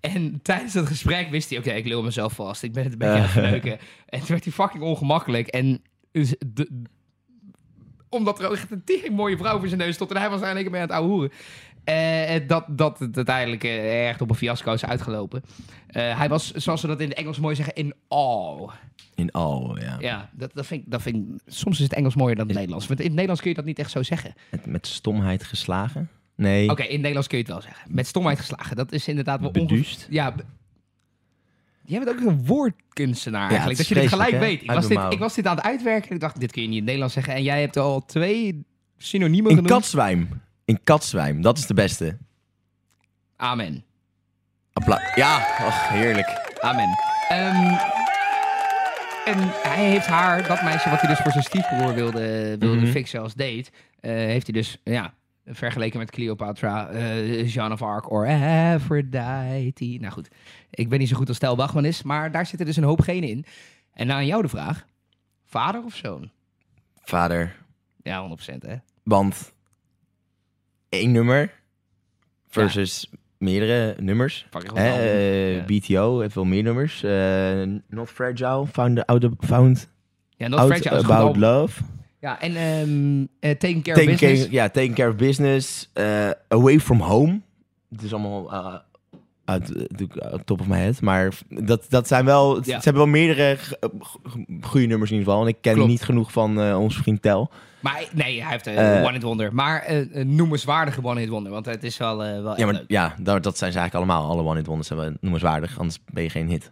Speaker 1: en tijdens dat gesprek wist hij, oké, ik lul mezelf vast. Ik ben het een beetje aan
Speaker 2: Eh.
Speaker 1: het verneuken. En toen werd hij fucking ongemakkelijk. En dus de- omdat er ook echt een tering mooie vrouw voor zijn neus stond. En hij was daar in één keer mee aan het ouwe hoeren. Eh, dat, dat het uiteindelijk eh, echt op een fiasco is uitgelopen. Eh, hij was, zoals ze dat in het Engels mooi zeggen, in awe.
Speaker 2: In al, ja.
Speaker 1: Ja, dat, dat, vind ik, dat vind ik- Soms is het Engels mooier dan het Nederlands. Want in het Nederlands kun je dat niet echt zo zeggen. Oké,
Speaker 2: Met, met stomheid geslagen? Nee.
Speaker 1: in het Nederlands kun je het wel zeggen. Met stomheid geslagen. Dat is inderdaad wel
Speaker 2: Beduust?
Speaker 1: Ja, be- Jij bent ook een woordkunstenaar eigenlijk.
Speaker 2: het
Speaker 1: Dat
Speaker 2: is
Speaker 1: je dit gelijk
Speaker 2: vreselijk, hè?
Speaker 1: weet. Ik
Speaker 2: Uit
Speaker 1: was,
Speaker 2: mijn
Speaker 1: dit,
Speaker 2: mouw.
Speaker 1: ik was dit aan het uitwerken. en Ik dacht, dit kun je niet in het Nederlands zeggen. En jij hebt al twee synoniemen
Speaker 2: In
Speaker 1: genoemd.
Speaker 2: katzwijm. In katzwijm. Dat is de beste.
Speaker 1: Amen.
Speaker 2: Applaus. Ja, ach, heerlijk.
Speaker 1: Amen. Ehm, en hij heeft haar, dat meisje wat hij dus voor zijn stiefbroer wilde, wilde
Speaker 2: Mhm.
Speaker 1: fixen als date, eh, heeft hij dus, ja, vergeleken met Cleopatra, eh Jeanne of Arc or Aphrodite. Nou goed, ik ben niet zo goed als Stel Bachman is, maar daar zitten dus een hoop genen in. En nou aan jou de vraag, vader of zoon?
Speaker 2: Vader,
Speaker 1: Ja, 100% hè.
Speaker 2: want één nummer versus meerdere nummers.
Speaker 1: Pak ik gewoon
Speaker 2: Hè,
Speaker 1: een
Speaker 2: eh,
Speaker 1: album.
Speaker 2: BTO heeft veel meer nummers. Eh, Not Fragile, Found, out, found
Speaker 1: Ja, Not
Speaker 2: out
Speaker 1: Fragile is een goed
Speaker 2: About
Speaker 1: album.
Speaker 2: Love.
Speaker 1: Ja, en ehm eh Taking Care of
Speaker 2: Taking
Speaker 1: Business.
Speaker 2: care, ja, taking care of business. eh, away from home. Het is allemaal eh, uit, natuurlijk uit top of mijn head. Maar dat, dat zijn wel... het-
Speaker 1: Ja.
Speaker 2: Ze hebben wel meerdere g- g- goede nummers in ieder geval. En ik ken
Speaker 1: Klopt.
Speaker 2: niet genoeg van eh onze vriend Tel.
Speaker 1: Maar hij- nee, hij heeft een
Speaker 2: Eh,
Speaker 1: One Hit Wonder. Maar eh, een noemenswaardige One Hit Wonder. Want het is wel, eh, wel echt
Speaker 2: Ja, maar
Speaker 1: leuk.
Speaker 2: ja, dat, dat zijn ze eigenlijk allemaal. Alle one-hit wonders zijn wel noemenswaardig. Anders ben je geen hit.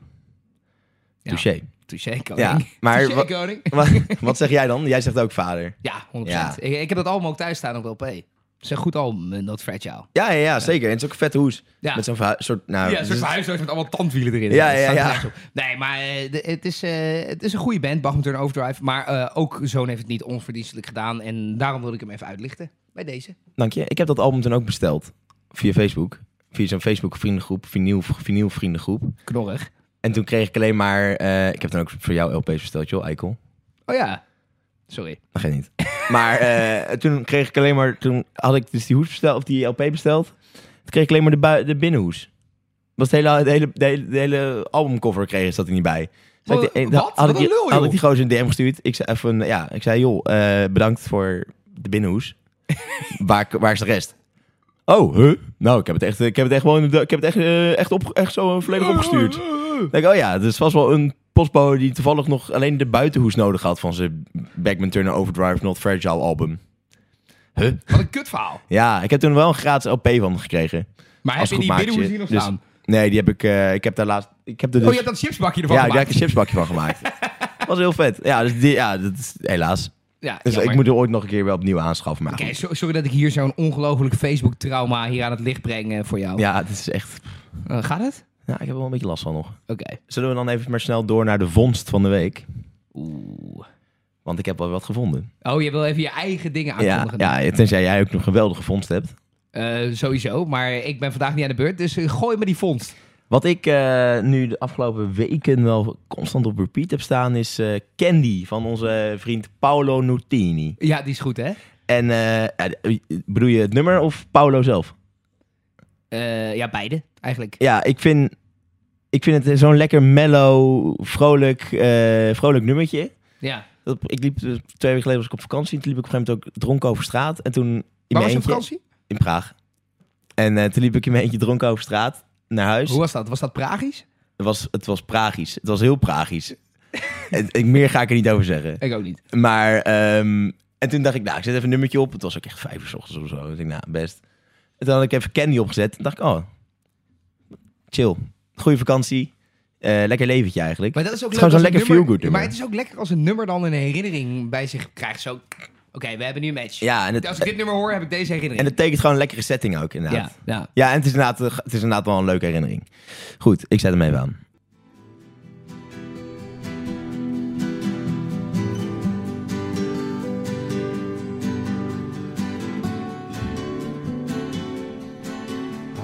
Speaker 1: Ja.
Speaker 2: Touché.
Speaker 1: Touché koning.
Speaker 2: Ja, maar
Speaker 1: Touché
Speaker 2: wa-
Speaker 1: koning.
Speaker 2: Wat, wat zeg jij dan? Jij zegt ook vader.
Speaker 1: Ja, 100%.
Speaker 2: Ja.
Speaker 1: Ik, ik heb dat album ook thuis staan op LP. Het is een goed album, eh, Not Fragile.
Speaker 2: Ja, ja, ja zeker. En het is ook een vette hoes.
Speaker 1: Ja.
Speaker 2: Met zo'n verhu- soort... Nou,
Speaker 1: Ja, een soort
Speaker 2: dus-
Speaker 1: huisdoos met allemaal tandwielen erin.
Speaker 2: Ja,
Speaker 1: Dat
Speaker 2: ja,
Speaker 1: staat
Speaker 2: ja.
Speaker 1: nergens op. Nee, maar eh, de- het, is, eh, het is een goede band, Bachman Turn Overdrive. Maar eh, ook Zoon heeft het niet onverdienstelijk gedaan. En daarom wilde ik hem even uitlichten bij deze.
Speaker 2: Dank je. Ik heb dat album toen ook besteld. Via Facebook. Via zo'n Facebook vriendengroep. Vinyl, vinyl vriendengroep.
Speaker 1: Knorrig.
Speaker 2: En toen kreeg ik alleen maar... eh, ik heb dan ook voor jou LP's besteld, joh, Eikel.
Speaker 1: Oh ja, sorry.
Speaker 2: Dat geeft niet. Maar eh, toen kreeg ik alleen maar... Toen had ik dus die hoes besteld, of die LP besteld. Toen kreeg ik alleen maar de, bui- de binnenhoes. Was het hele, de hele, de hele, de hele albumcover kreeg, zat er niet bij. Dus
Speaker 1: Wat-
Speaker 2: ik- eh,
Speaker 1: wat?
Speaker 2: Had,
Speaker 1: Wat
Speaker 2: ik, die-
Speaker 1: een lul,
Speaker 2: had
Speaker 1: joh.
Speaker 2: ik die gozer een DM gestuurd. Ik zei, even, ja, ik zei joh, eh, bedankt voor de binnenhoes. waar, waar is de rest? Oh, huh? Nou, ik heb het echt, ik heb het echt gewoon, ik heb het echt, eh, echt, op, echt zo volledig opgestuurd. Ik Denk, oh ja, dus was wel een postbode die toevallig nog alleen de buitenhoes nodig had van zijn Backman Turner Overdrive Not Fragile album.
Speaker 1: Wat een kutverhaal.
Speaker 2: Ja, ik heb toen wel een gratis LP van hem gekregen.
Speaker 1: Maar heb
Speaker 2: Als
Speaker 1: je
Speaker 2: goed
Speaker 1: die
Speaker 2: maatje.
Speaker 1: binnenhoes hier nog
Speaker 2: Dus-
Speaker 1: staan?
Speaker 2: Nee, die heb ik, eh, ik heb daar laatst, ik heb er dus,
Speaker 1: Oh, je hebt dat chipsbakje ervan
Speaker 2: ja, daar heb
Speaker 1: gemaakt.
Speaker 2: ik een chipsbakje van gemaakt. was heel vet. Ja, dus die, ja, dat is helaas.
Speaker 1: Ja,
Speaker 2: Dus
Speaker 1: jammer.
Speaker 2: ik moet er ooit nog een keer wel opnieuw aanschaffen. Maar
Speaker 1: Oké,
Speaker 2: goed.
Speaker 1: so- sorry dat ik hier zo'n ongelooflijk Facebook-trauma hier aan het licht breng eh, voor jou.
Speaker 2: ja, het is echt.
Speaker 1: Eh, gaat het?
Speaker 2: Ja, ik heb er wel een beetje last van nog.
Speaker 1: Oké.
Speaker 2: Zullen we dan even maar snel door naar de vondst van de week?
Speaker 1: Oeh.
Speaker 2: Want ik heb wel wat gevonden.
Speaker 1: Oh, je wil even je eigen dingen
Speaker 2: Ja,
Speaker 1: aankondigen.
Speaker 2: ja, tenzij jij ook een geweldige vondst hebt.
Speaker 1: Eh, sowieso, maar ik ben vandaag niet aan de beurt, dus eh, gooi me die vondst.
Speaker 2: Wat ik eh, nu de afgelopen weken wel constant op repeat heb staan is eh, Candy van onze vriend Paolo Nutini.
Speaker 1: Ja, die is goed, hè?
Speaker 2: En eh, eh, bedoel je het nummer of Paolo zelf?
Speaker 1: Eh, ja, beide, eigenlijk.
Speaker 2: Ja, ik vind, ik vind het zo'n lekker mellow, vrolijk, eh, vrolijk nummertje.
Speaker 1: Ja.
Speaker 2: Dat- Ik liep eh, twee weken geleden was ik op vakantie. Toen liep ik op een gegeven moment ook dronken over straat. En toen in
Speaker 1: Waar
Speaker 2: mijn
Speaker 1: was je op
Speaker 2: eentje
Speaker 1: vakantie?
Speaker 2: in Praag. En eh, toen liep ik in mijn eentje dronken over straat naar huis.
Speaker 1: Hoe was dat? Was dat Pragisch?
Speaker 2: Het was, het was pragisch. Het was heel pragisch. En ik, meer ga ik er niet over zeggen.
Speaker 1: Ik ook niet.
Speaker 2: Maar, ehm, en toen dacht ik, nou, ik zet even een nummertje op. Het was ook echt vijf uur 's ochtends of zo. Ik dacht, nou, best. En toen had ik even Candy opgezet. Toen dacht ik, oh, chill. Goeie vakantie. Eh, lekker leventje eigenlijk.
Speaker 1: Maar dat is ook
Speaker 2: Het is
Speaker 1: leuk
Speaker 2: gewoon zo'n
Speaker 1: als een
Speaker 2: lekker
Speaker 1: nummer-
Speaker 2: feel-good nummer.
Speaker 1: Maar het is ook lekker als een nummer dan een herinnering bij zich krijgt. Zo, oké, we hebben nu een match.
Speaker 2: Ja, en het,
Speaker 1: Als ik dit nummer hoor, heb ik deze herinnering.
Speaker 2: en het tekent gewoon een lekkere setting ook, inderdaad.
Speaker 1: ja, ja.
Speaker 2: Ja, en het is, inderdaad, het is inderdaad wel een leuke herinnering. Goed, ik zet hem even aan.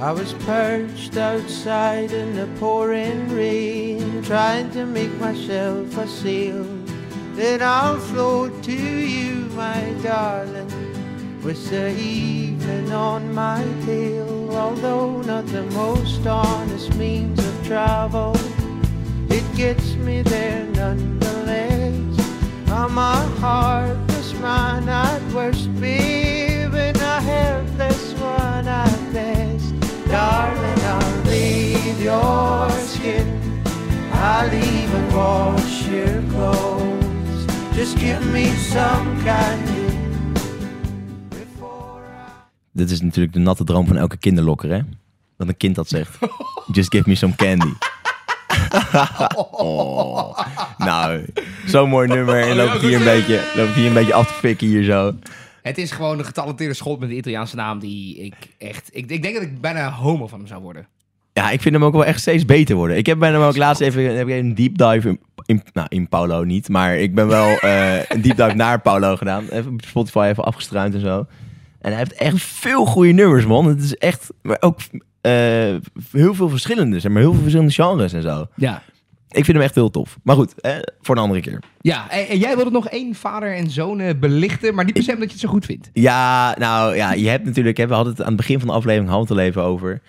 Speaker 4: I was perched outside in the pouring rain, trying to make myself a sail. Then I'll float to you, my darling, with the evening on my tail. Although not the most honest means of travel, it gets me there nonetheless. Oh, I'm a heartless man at worst, babe, and a helpless one at best. Darling, I'll bathe your skin. I'll even wash your clothes. Just give me some candy. Before I...
Speaker 2: Dit is natuurlijk de natte droom van elke kinderlokker, hè? Dat een kind dat zegt. Just give me some candy. Nou, zo'n mooi nummer. En loop ik hier een beetje, loop ik hier een beetje af te fikken hier zo.
Speaker 1: Het is gewoon een getalenteerde schot met een Italiaanse naam die ik echt... Ik, ik denk dat ik bijna homo van hem zou worden.
Speaker 2: Ja, ik vind hem ook wel echt steeds beter worden. Ik heb bij hem ook laatst even heb ik een deep dive in, in, nou, in Paulo niet, maar ik ben wel eh, een deep dive naar Paulo gedaan. Even op Spotify even afgestruind en zo. En hij heeft echt veel goede nummers, man. Het is echt, maar ook eh, heel veel verschillende, zeg maar heel veel verschillende genres en zo.
Speaker 1: Ja.
Speaker 2: Ik vind hem echt heel tof. Maar goed, eh, voor een andere keer.
Speaker 1: Ja, en, en jij wilde nog één vader en zoon eh, belichten, maar niet per se omdat je het zo goed vindt.
Speaker 2: Ja, nou ja, je hebt natuurlijk, hè, we hadden het aan het begin van de aflevering hadden we het al even over.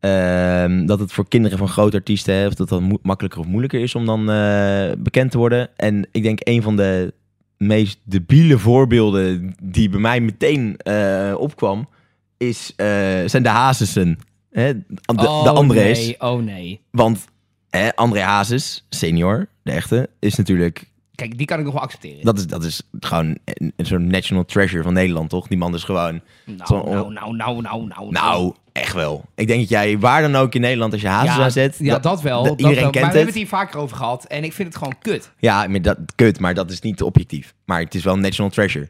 Speaker 2: ehm, dat het voor kinderen van grote artiesten, hè, of dat dan mo- makkelijker of moeilijker is om dan eh, bekend te worden. En ik denk een van de meest debiele voorbeelden die bij mij meteen eh, opkwam, is, eh, zijn de Hazesen. Hè? De, de Andrés.
Speaker 1: Oh, Nee, oh nee.
Speaker 2: Want hè, André Hazes, senior, de echte, is natuurlijk
Speaker 1: Kijk, die kan ik nog wel accepteren.
Speaker 2: dat is, dat is gewoon een, een soort national treasure van Nederland, toch? Die man is gewoon... zo'n-
Speaker 1: nou, nou, nou, nou, nou, nou.
Speaker 2: nou, echt wel. Ik denk dat jij waar dan ook in Nederland, als je hazes
Speaker 1: ja,
Speaker 2: aanzet...
Speaker 1: ja, dat, wel.
Speaker 2: da-
Speaker 1: dat
Speaker 2: iedereen
Speaker 1: wel.
Speaker 2: kent
Speaker 1: maar we
Speaker 2: het.
Speaker 1: hebben het hier vaker over gehad en ik vind het gewoon kut.
Speaker 2: Ja, maar dat, kut, maar dat is niet objectief. Maar het is wel een national treasure.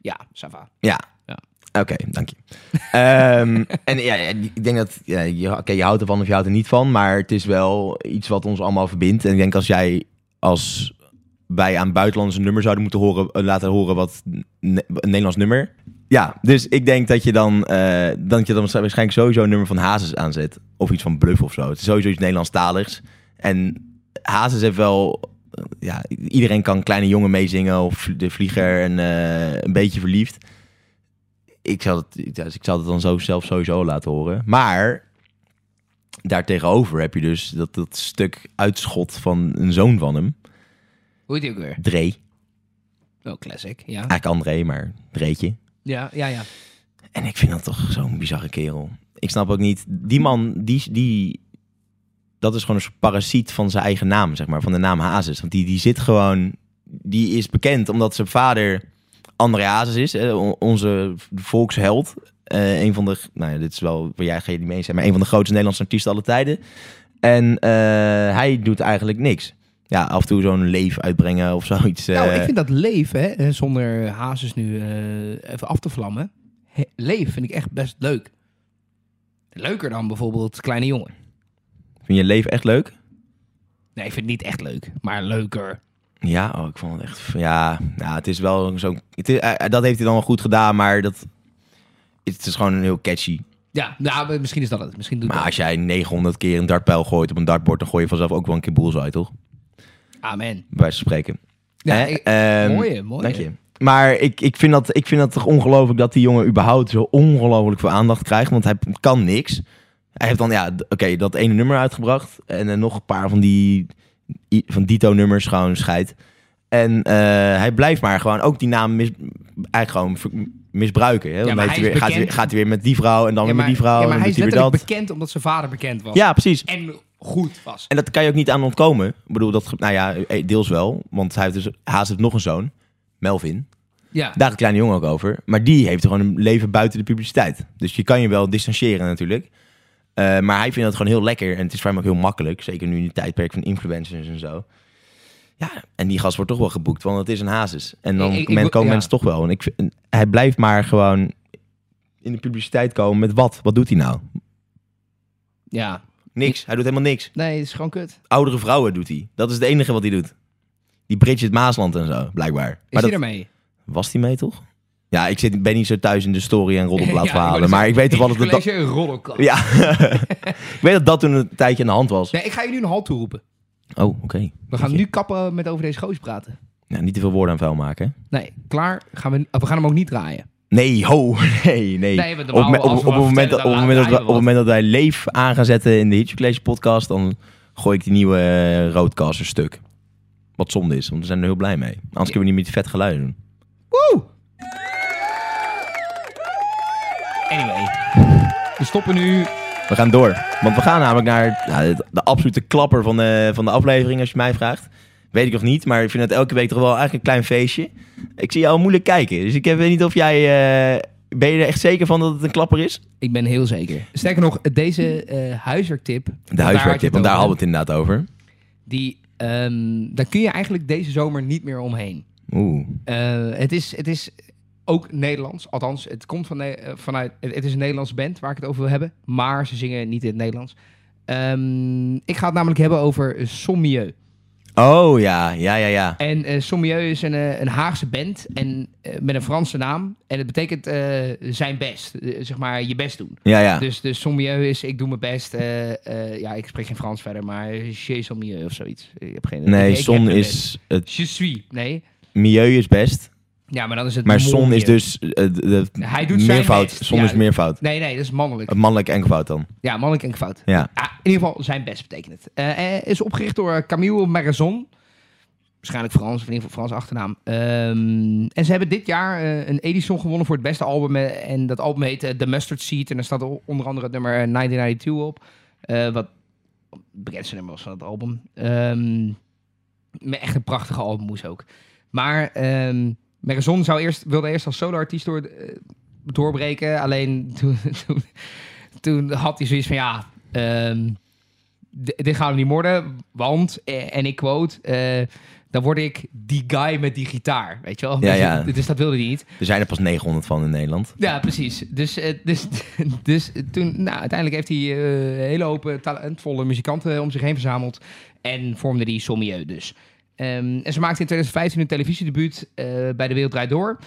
Speaker 1: Ja, Sava.
Speaker 2: Ja.
Speaker 1: Ja.
Speaker 2: Oké, dank je. Ehm, en ja, ja, ik denk dat ja, je, oké, je houdt ervan of je houdt er niet van, maar het is wel iets wat ons allemaal verbindt. En ik denk als jij als wij aan buitenlandse nummer zouden moeten horen, eh, laten horen wat ne- een Nederlands nummer. Ja, dus ik denk dat je dan, eh dat je dan waarschijnlijk sowieso een nummer van Hazes aanzet. Of iets van Bluff of zo. Het is sowieso iets Nederlandstaligs. En Hazes heeft wel... eh, Ja, iedereen kan Kleine Jongen meezingen of De Vlieger en eh, Een Beetje Verliefd ik zou het, ja, dus ik zou het dan zo zelf sowieso laten horen. Maar daartegenover heb je dus dat, dat stuk uitschot van een zoon van hem,
Speaker 1: Hoe heet die ook weer?
Speaker 2: Dre.
Speaker 1: Oh, classic. Ja,
Speaker 2: Eigenlijk André, maar Dreetje.
Speaker 1: ja, ja. ja.
Speaker 2: En ik vind dat toch zo'n bizarre kerel. Ik snap ook niet, die man, die, die, dat is gewoon een soort parasiet van zijn eigen naam, zeg maar, van de naam Hazes. Want die, die zit gewoon, die is bekend omdat zijn vader André Hazes is, hè, on- onze volksheld. Eh, een van de, nou ja, dit is wel, jij ga je niet mee zijn, maar een van de grootste Nederlandse artiesten alle tijden. En eh, hij doet eigenlijk niks. Ja, af en toe zo'n leef uitbrengen of zoiets.
Speaker 1: Nou,
Speaker 2: eh.
Speaker 1: ik vind dat leven, hè, eh, zonder Hazes nu eh, even af te vlammen. He- Leef vind ik echt best leuk. Leuker dan bijvoorbeeld Kleine Jongen.
Speaker 2: Vind je leef echt leuk?
Speaker 1: Nee, ik vind het niet echt leuk, maar leuker.
Speaker 2: Ja, oh, ik vond het echt. Ja, nou, het is wel zo. Het is, eh, dat heeft hij dan wel goed gedaan, maar dat. Het is gewoon heel catchy.
Speaker 1: Ja, nou, maar misschien is dat het. Misschien doet
Speaker 2: Maar
Speaker 1: dat.
Speaker 2: als jij 900 keer een dartpijl gooit op een dartbord, dan gooi je vanzelf ook wel een keer bullseye, toch?
Speaker 1: Amen.
Speaker 2: Bij wijze van spreken.
Speaker 1: Ja,
Speaker 2: Hè?
Speaker 1: ik-
Speaker 2: Ehm,
Speaker 1: mooie, mooie.
Speaker 2: Dank je. Maar ik, ik, vind dat, ik vind dat toch ongelooflijk dat die jongen überhaupt zo ongelooflijk veel aandacht krijgt. Want hij kan niks. Hij heeft dan, ja, d- oké, dat ene nummer uitgebracht. En eh, nog een paar van die i- van Dito-nummers gewoon scheid. En eh, hij blijft maar gewoon ook die naam mis, eigenlijk gewoon ver- misbruiken. Hè? Dan
Speaker 1: maar
Speaker 2: heeft
Speaker 1: hij
Speaker 2: hij
Speaker 1: is
Speaker 2: weer, gaat, hij weer,
Speaker 1: bekend.
Speaker 2: gaat hij weer met die vrouw en dan
Speaker 1: Ja,
Speaker 2: weer
Speaker 1: maar,
Speaker 2: met die vrouw.
Speaker 1: ja,
Speaker 2: en
Speaker 1: maar
Speaker 2: dan
Speaker 1: hij is
Speaker 2: doet hij weer
Speaker 1: letterlijk
Speaker 2: dat.
Speaker 1: bekend omdat zijn vader bekend was.
Speaker 2: Ja, precies.
Speaker 1: En goed was.
Speaker 2: En dat kan je ook niet aan ontkomen. Ik bedoel, dat, ge- nou ja, eh, deels wel. Want hij heeft dus, Haas heeft nog een zoon, Melvin.
Speaker 1: Ja.
Speaker 2: Daar een kleine jongen ook over. Maar die heeft gewoon een leven buiten de publiciteit. Dus je kan je wel distancieren natuurlijk. Eh, maar hij vindt dat gewoon heel lekker. En het is voor hem ook heel makkelijk. Zeker nu in het tijdperk van influencers en zo. Ja, en die gast wordt toch wel geboekt. Want het is een hazes. En dan
Speaker 1: Ik- ik- ik
Speaker 2: men-
Speaker 1: wil-
Speaker 2: komen
Speaker 1: ja.
Speaker 2: mensen toch wel. En ik, vind- en hij blijft maar gewoon in de publiciteit komen met wat? Wat doet hij nou?
Speaker 1: ja.
Speaker 2: Niks. Hij doet helemaal niks
Speaker 1: Nee, het is gewoon kut. Is
Speaker 2: oudere vrouwen doet hij. Dat is het enige wat hij doet. Die Bridget Maasland en zo, blijkbaar. Maar
Speaker 1: hij
Speaker 2: dat-
Speaker 1: ermee?
Speaker 2: was die mee, toch? Ja, ik zit, ben niet zo thuis in de story en roddelplaat
Speaker 1: Ja,
Speaker 2: verhalen.
Speaker 1: wou
Speaker 2: maar ik weet
Speaker 1: net
Speaker 2: toevallig
Speaker 1: zeggen,
Speaker 2: dat dat...
Speaker 1: in het college een roddelkast.
Speaker 2: Ja. ik weet dat dat toen een tijdje aan de hand was.
Speaker 1: Nee, ik ga je nu een halt toeroepen.
Speaker 2: Oh, oké.
Speaker 1: We gaan nu kappen met over deze goos praten.
Speaker 2: Ja, niet te veel woorden aan vuil maken. hè?
Speaker 1: Nee, klaar. Gaan we, oh, we gaan hem ook niet draaien.
Speaker 2: Nee, ho, nee, nee.
Speaker 1: Nee, want
Speaker 2: op,
Speaker 1: normaal
Speaker 2: me- op,
Speaker 1: als we wat
Speaker 2: op, het moment
Speaker 1: vertellen,
Speaker 2: dat,
Speaker 1: dan laten
Speaker 2: op, het moment dat,
Speaker 1: wij
Speaker 2: wij-
Speaker 1: wel
Speaker 2: op het
Speaker 1: wat.
Speaker 2: moment dat wij leef aan gaan zetten in de Hitch College podcast, dan gooi ik die nieuwe eh, roadcaster stuk. Wat zonde is, want we zijn er heel blij mee. Anders kunnen we niet meer die vet geluiden doen.
Speaker 1: Woe! Anyway. We stoppen nu.
Speaker 2: We gaan door. Want we gaan namelijk naar nou, de, de absolute klapper van de, van de aflevering, als je mij vraagt. Weet ik nog niet, maar ik vind het elke week toch wel eigenlijk een klein feestje. Ik zie jou al moeilijk kijken, dus ik weet niet of jij eh, Ben je er echt zeker van dat het een klapper is?
Speaker 1: Ik ben heel zeker. Sterker nog, deze eh huiswerktip.
Speaker 2: De huiswerktip, want daar hadden we het inderdaad over.
Speaker 1: Die, ehm, daar kun je eigenlijk deze zomer niet meer omheen.
Speaker 2: Oeh.
Speaker 1: Eh, het, is, het is ook Nederlands. Althans, het komt van, Ne- eh, vanuit. Het, het is een Nederlands band waar ik het over wil hebben. Maar ze zingen niet in het Nederlands. Ehm, ik ga het namelijk hebben over Sommieu.
Speaker 2: Oh ja, ja, ja, ja.
Speaker 1: En eh, Sommieu is een, eh, een Haagse band en, eh, met een Franse naam. En het betekent eh, zijn best. Eh, zeg maar je best doen.
Speaker 2: Ja, ja.
Speaker 1: Dus, dus Sommieu is ik doe mijn best. eh, eh, ja, ik spreek geen Frans verder, maar je Sommieu of zoiets. Ik heb geen ik-
Speaker 2: Nee,
Speaker 1: ik heb
Speaker 2: zon
Speaker 1: mijn
Speaker 2: is... Het
Speaker 1: best. Je suis. Nee,
Speaker 2: milieu is best.
Speaker 1: ja, maar dan is het.
Speaker 2: Maar zon
Speaker 1: Molmieu.
Speaker 2: is dus... eh, de, de-
Speaker 1: Hij doet zijn
Speaker 2: meervoud.
Speaker 1: best.
Speaker 2: Zon
Speaker 1: Ja.
Speaker 2: is meervout.
Speaker 1: Nee, nee, dat is mannelijk.
Speaker 2: Het mannelijk enkelvoud dan.
Speaker 1: Ja, mannelijk en fout.
Speaker 2: Ja.
Speaker 1: Ah, in ieder geval zijn best betekent het. Eh, hij is opgericht door Camille Marazon. Waarschijnlijk Frans, of in ieder geval Frans achternaam. Ehm, en ze hebben dit jaar eh, een Edison gewonnen voor het beste album. eh, En dat album heet eh, The Mustard Seed. En daar staat o- onder andere het nummer eh, 1992 op. Eh, wat het bekendste nummer was van het album. Ehm, met echt een prachtige albumhoes ook. Maar ehm Marazon zou eerst, wilde eerst als soloartiest door, eh, doorbreken. Alleen toen, toen, toen had hij zoiets van ja, ehm, d- dit gaan we niet worden, want, eh, en ik quote, eh, dan word ik die guy met die gitaar, weet je wel?
Speaker 2: Ja, ja.
Speaker 1: Dus dat wilde hij niet.
Speaker 2: Er zijn er pas 900 van in Nederland.
Speaker 1: Ja, precies. Dus, eh, dus, dus toen, nou, uiteindelijk heeft hij eh, een hele hoop eh, talentvolle muzikanten eh, om zich heen verzameld. En vormde die Sommieu dus. Ehm, en ze maakte in 2015 een televisiedebuut eh, bij De Wereld Draait Door.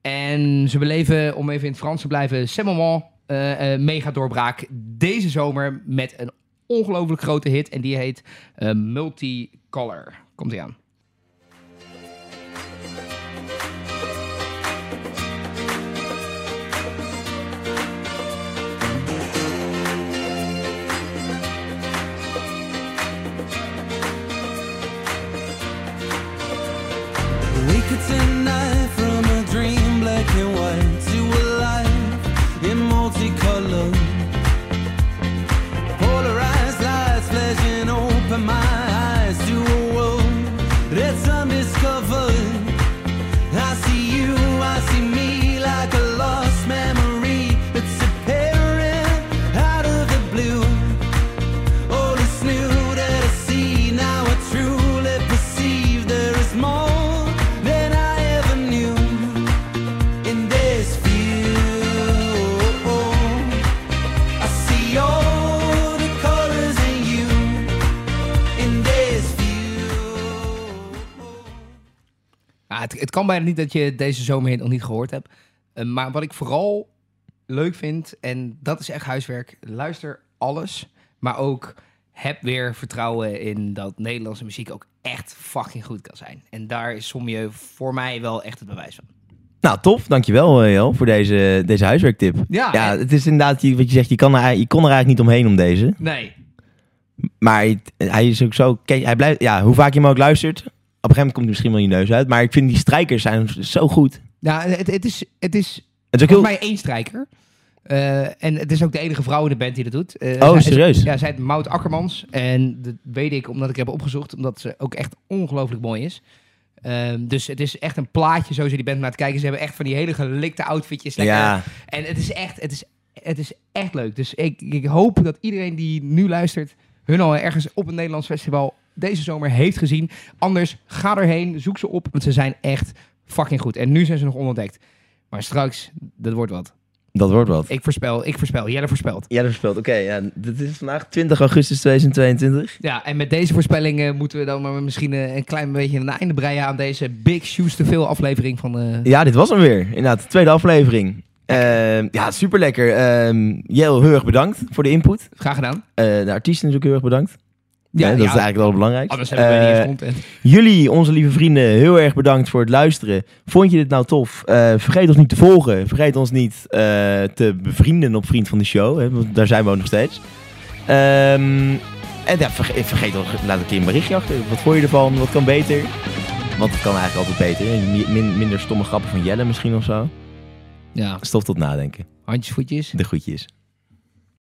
Speaker 1: En ze beleven, om even in het Frans te blijven, c'est moment, eh, eh, mega doorbraak deze zomer met een ongelooflijk grote hit. En die heet eh, Multicolor. Komt ie aan.
Speaker 7: We could tonight from a dream black and white to a life in multicolor. Polarized lights flashing open my eyes to a world that's undiscovered. I see you, I see me like a lost memory that's apparent out of the blue. All is new that I see now. I truly perceive there is more than I ever knew in this view. I see all the colors in you in this view.
Speaker 1: Ja, Ah, het, het kan bijna niet dat je deze zomerhit nog niet gehoord hebt. Eh, maar wat ik vooral leuk vind, en dat is echt huiswerk, luister alles. Maar ook heb weer vertrouwen in dat Nederlandse muziek ook echt fucking goed kan zijn. En daar is Sommieu voor mij wel echt het bewijs van.
Speaker 2: Nou, tof. Dankjewel, eh, Jel, voor deze, deze huiswerktip.
Speaker 1: Ja,
Speaker 2: ja,
Speaker 1: en-
Speaker 2: het is inderdaad je- wat je zegt. Je, kan er, eigenlijk- je kon er eigenlijk niet omheen om deze.
Speaker 1: Nee,
Speaker 2: Maar hij, hij is ook zo... kijk, Hij blijft, ja, hoe vaak je hem ook luistert... Op een gegeven moment komt hij misschien wel je neus uit. Maar ik vind die strijkers zijn zo goed.
Speaker 1: ja, het, het is, het is
Speaker 2: Het is ook
Speaker 1: volgens
Speaker 2: heel...
Speaker 1: mij één strijker. Eh, en het is ook de enige vrouw in de band die dat doet. Eh,
Speaker 2: Oh,
Speaker 1: zij-
Speaker 2: serieus?
Speaker 1: Ja, zij heet Maud Akkermans. En dat weet ik omdat ik heb opgezocht. Omdat ze ook echt ongelooflijk mooi is. Ehm, dus het is echt een plaatje zo ze die band naar het kijken. Ze hebben echt van die hele gelikte outfitjes. Lekker.
Speaker 2: Ja.
Speaker 1: En het is, echt, het, is, het is echt leuk. Dus ik, ik hoop dat iedereen die nu luistert... hun al ergens op een Nederlands festival deze zomer heeft gezien. Anders, ga erheen, zoek ze op. Want ze zijn echt fucking goed. En nu zijn ze nog onontdekt. Maar straks, dat wordt wat.
Speaker 2: Dat wordt wat.
Speaker 1: Ik voorspel, ik voorspel. Jelle voorspelt.
Speaker 2: Ja, dat verspeld. Oké, ja, dit is vandaag 20 augustus 2022.
Speaker 1: Ja, en met deze voorspellingen moeten we dan maar misschien eh, een klein beetje een einde breien aan deze Big Shoes te veel aflevering van... eh,
Speaker 2: Ja, dit was hem weer. Inderdaad, de tweede aflevering. Ehm, ja, super lekker. Jel, heel erg bedankt voor de input.
Speaker 1: Graag gedaan.
Speaker 2: Eh, de artiesten natuurlijk heel erg bedankt. Ja, dat is eigenlijk het allerbelangrijkste.
Speaker 1: Anders hebben Ah, we niet eens
Speaker 2: Eh,
Speaker 1: content.
Speaker 2: Jullie, onze lieve vrienden, heel erg bedankt voor het luisteren. Vond je dit nou tof? Eh, vergeet ons niet te volgen. Vergeet ons niet eh, te bevrienden op Vriend van de Show. Hè, want daar zijn we ook nog steeds. Ehm, en ja, verge- eh, vergeet ons, laat een keer een berichtje achter. Wat vond je ervan? Wat kan beter? Want het kan eigenlijk altijd beter. En mi- min- minder stomme grappen van Jelle misschien of zo.
Speaker 1: Ja,
Speaker 2: Stof tot nadenken.
Speaker 1: handjes, voetjes.
Speaker 2: De groetjes.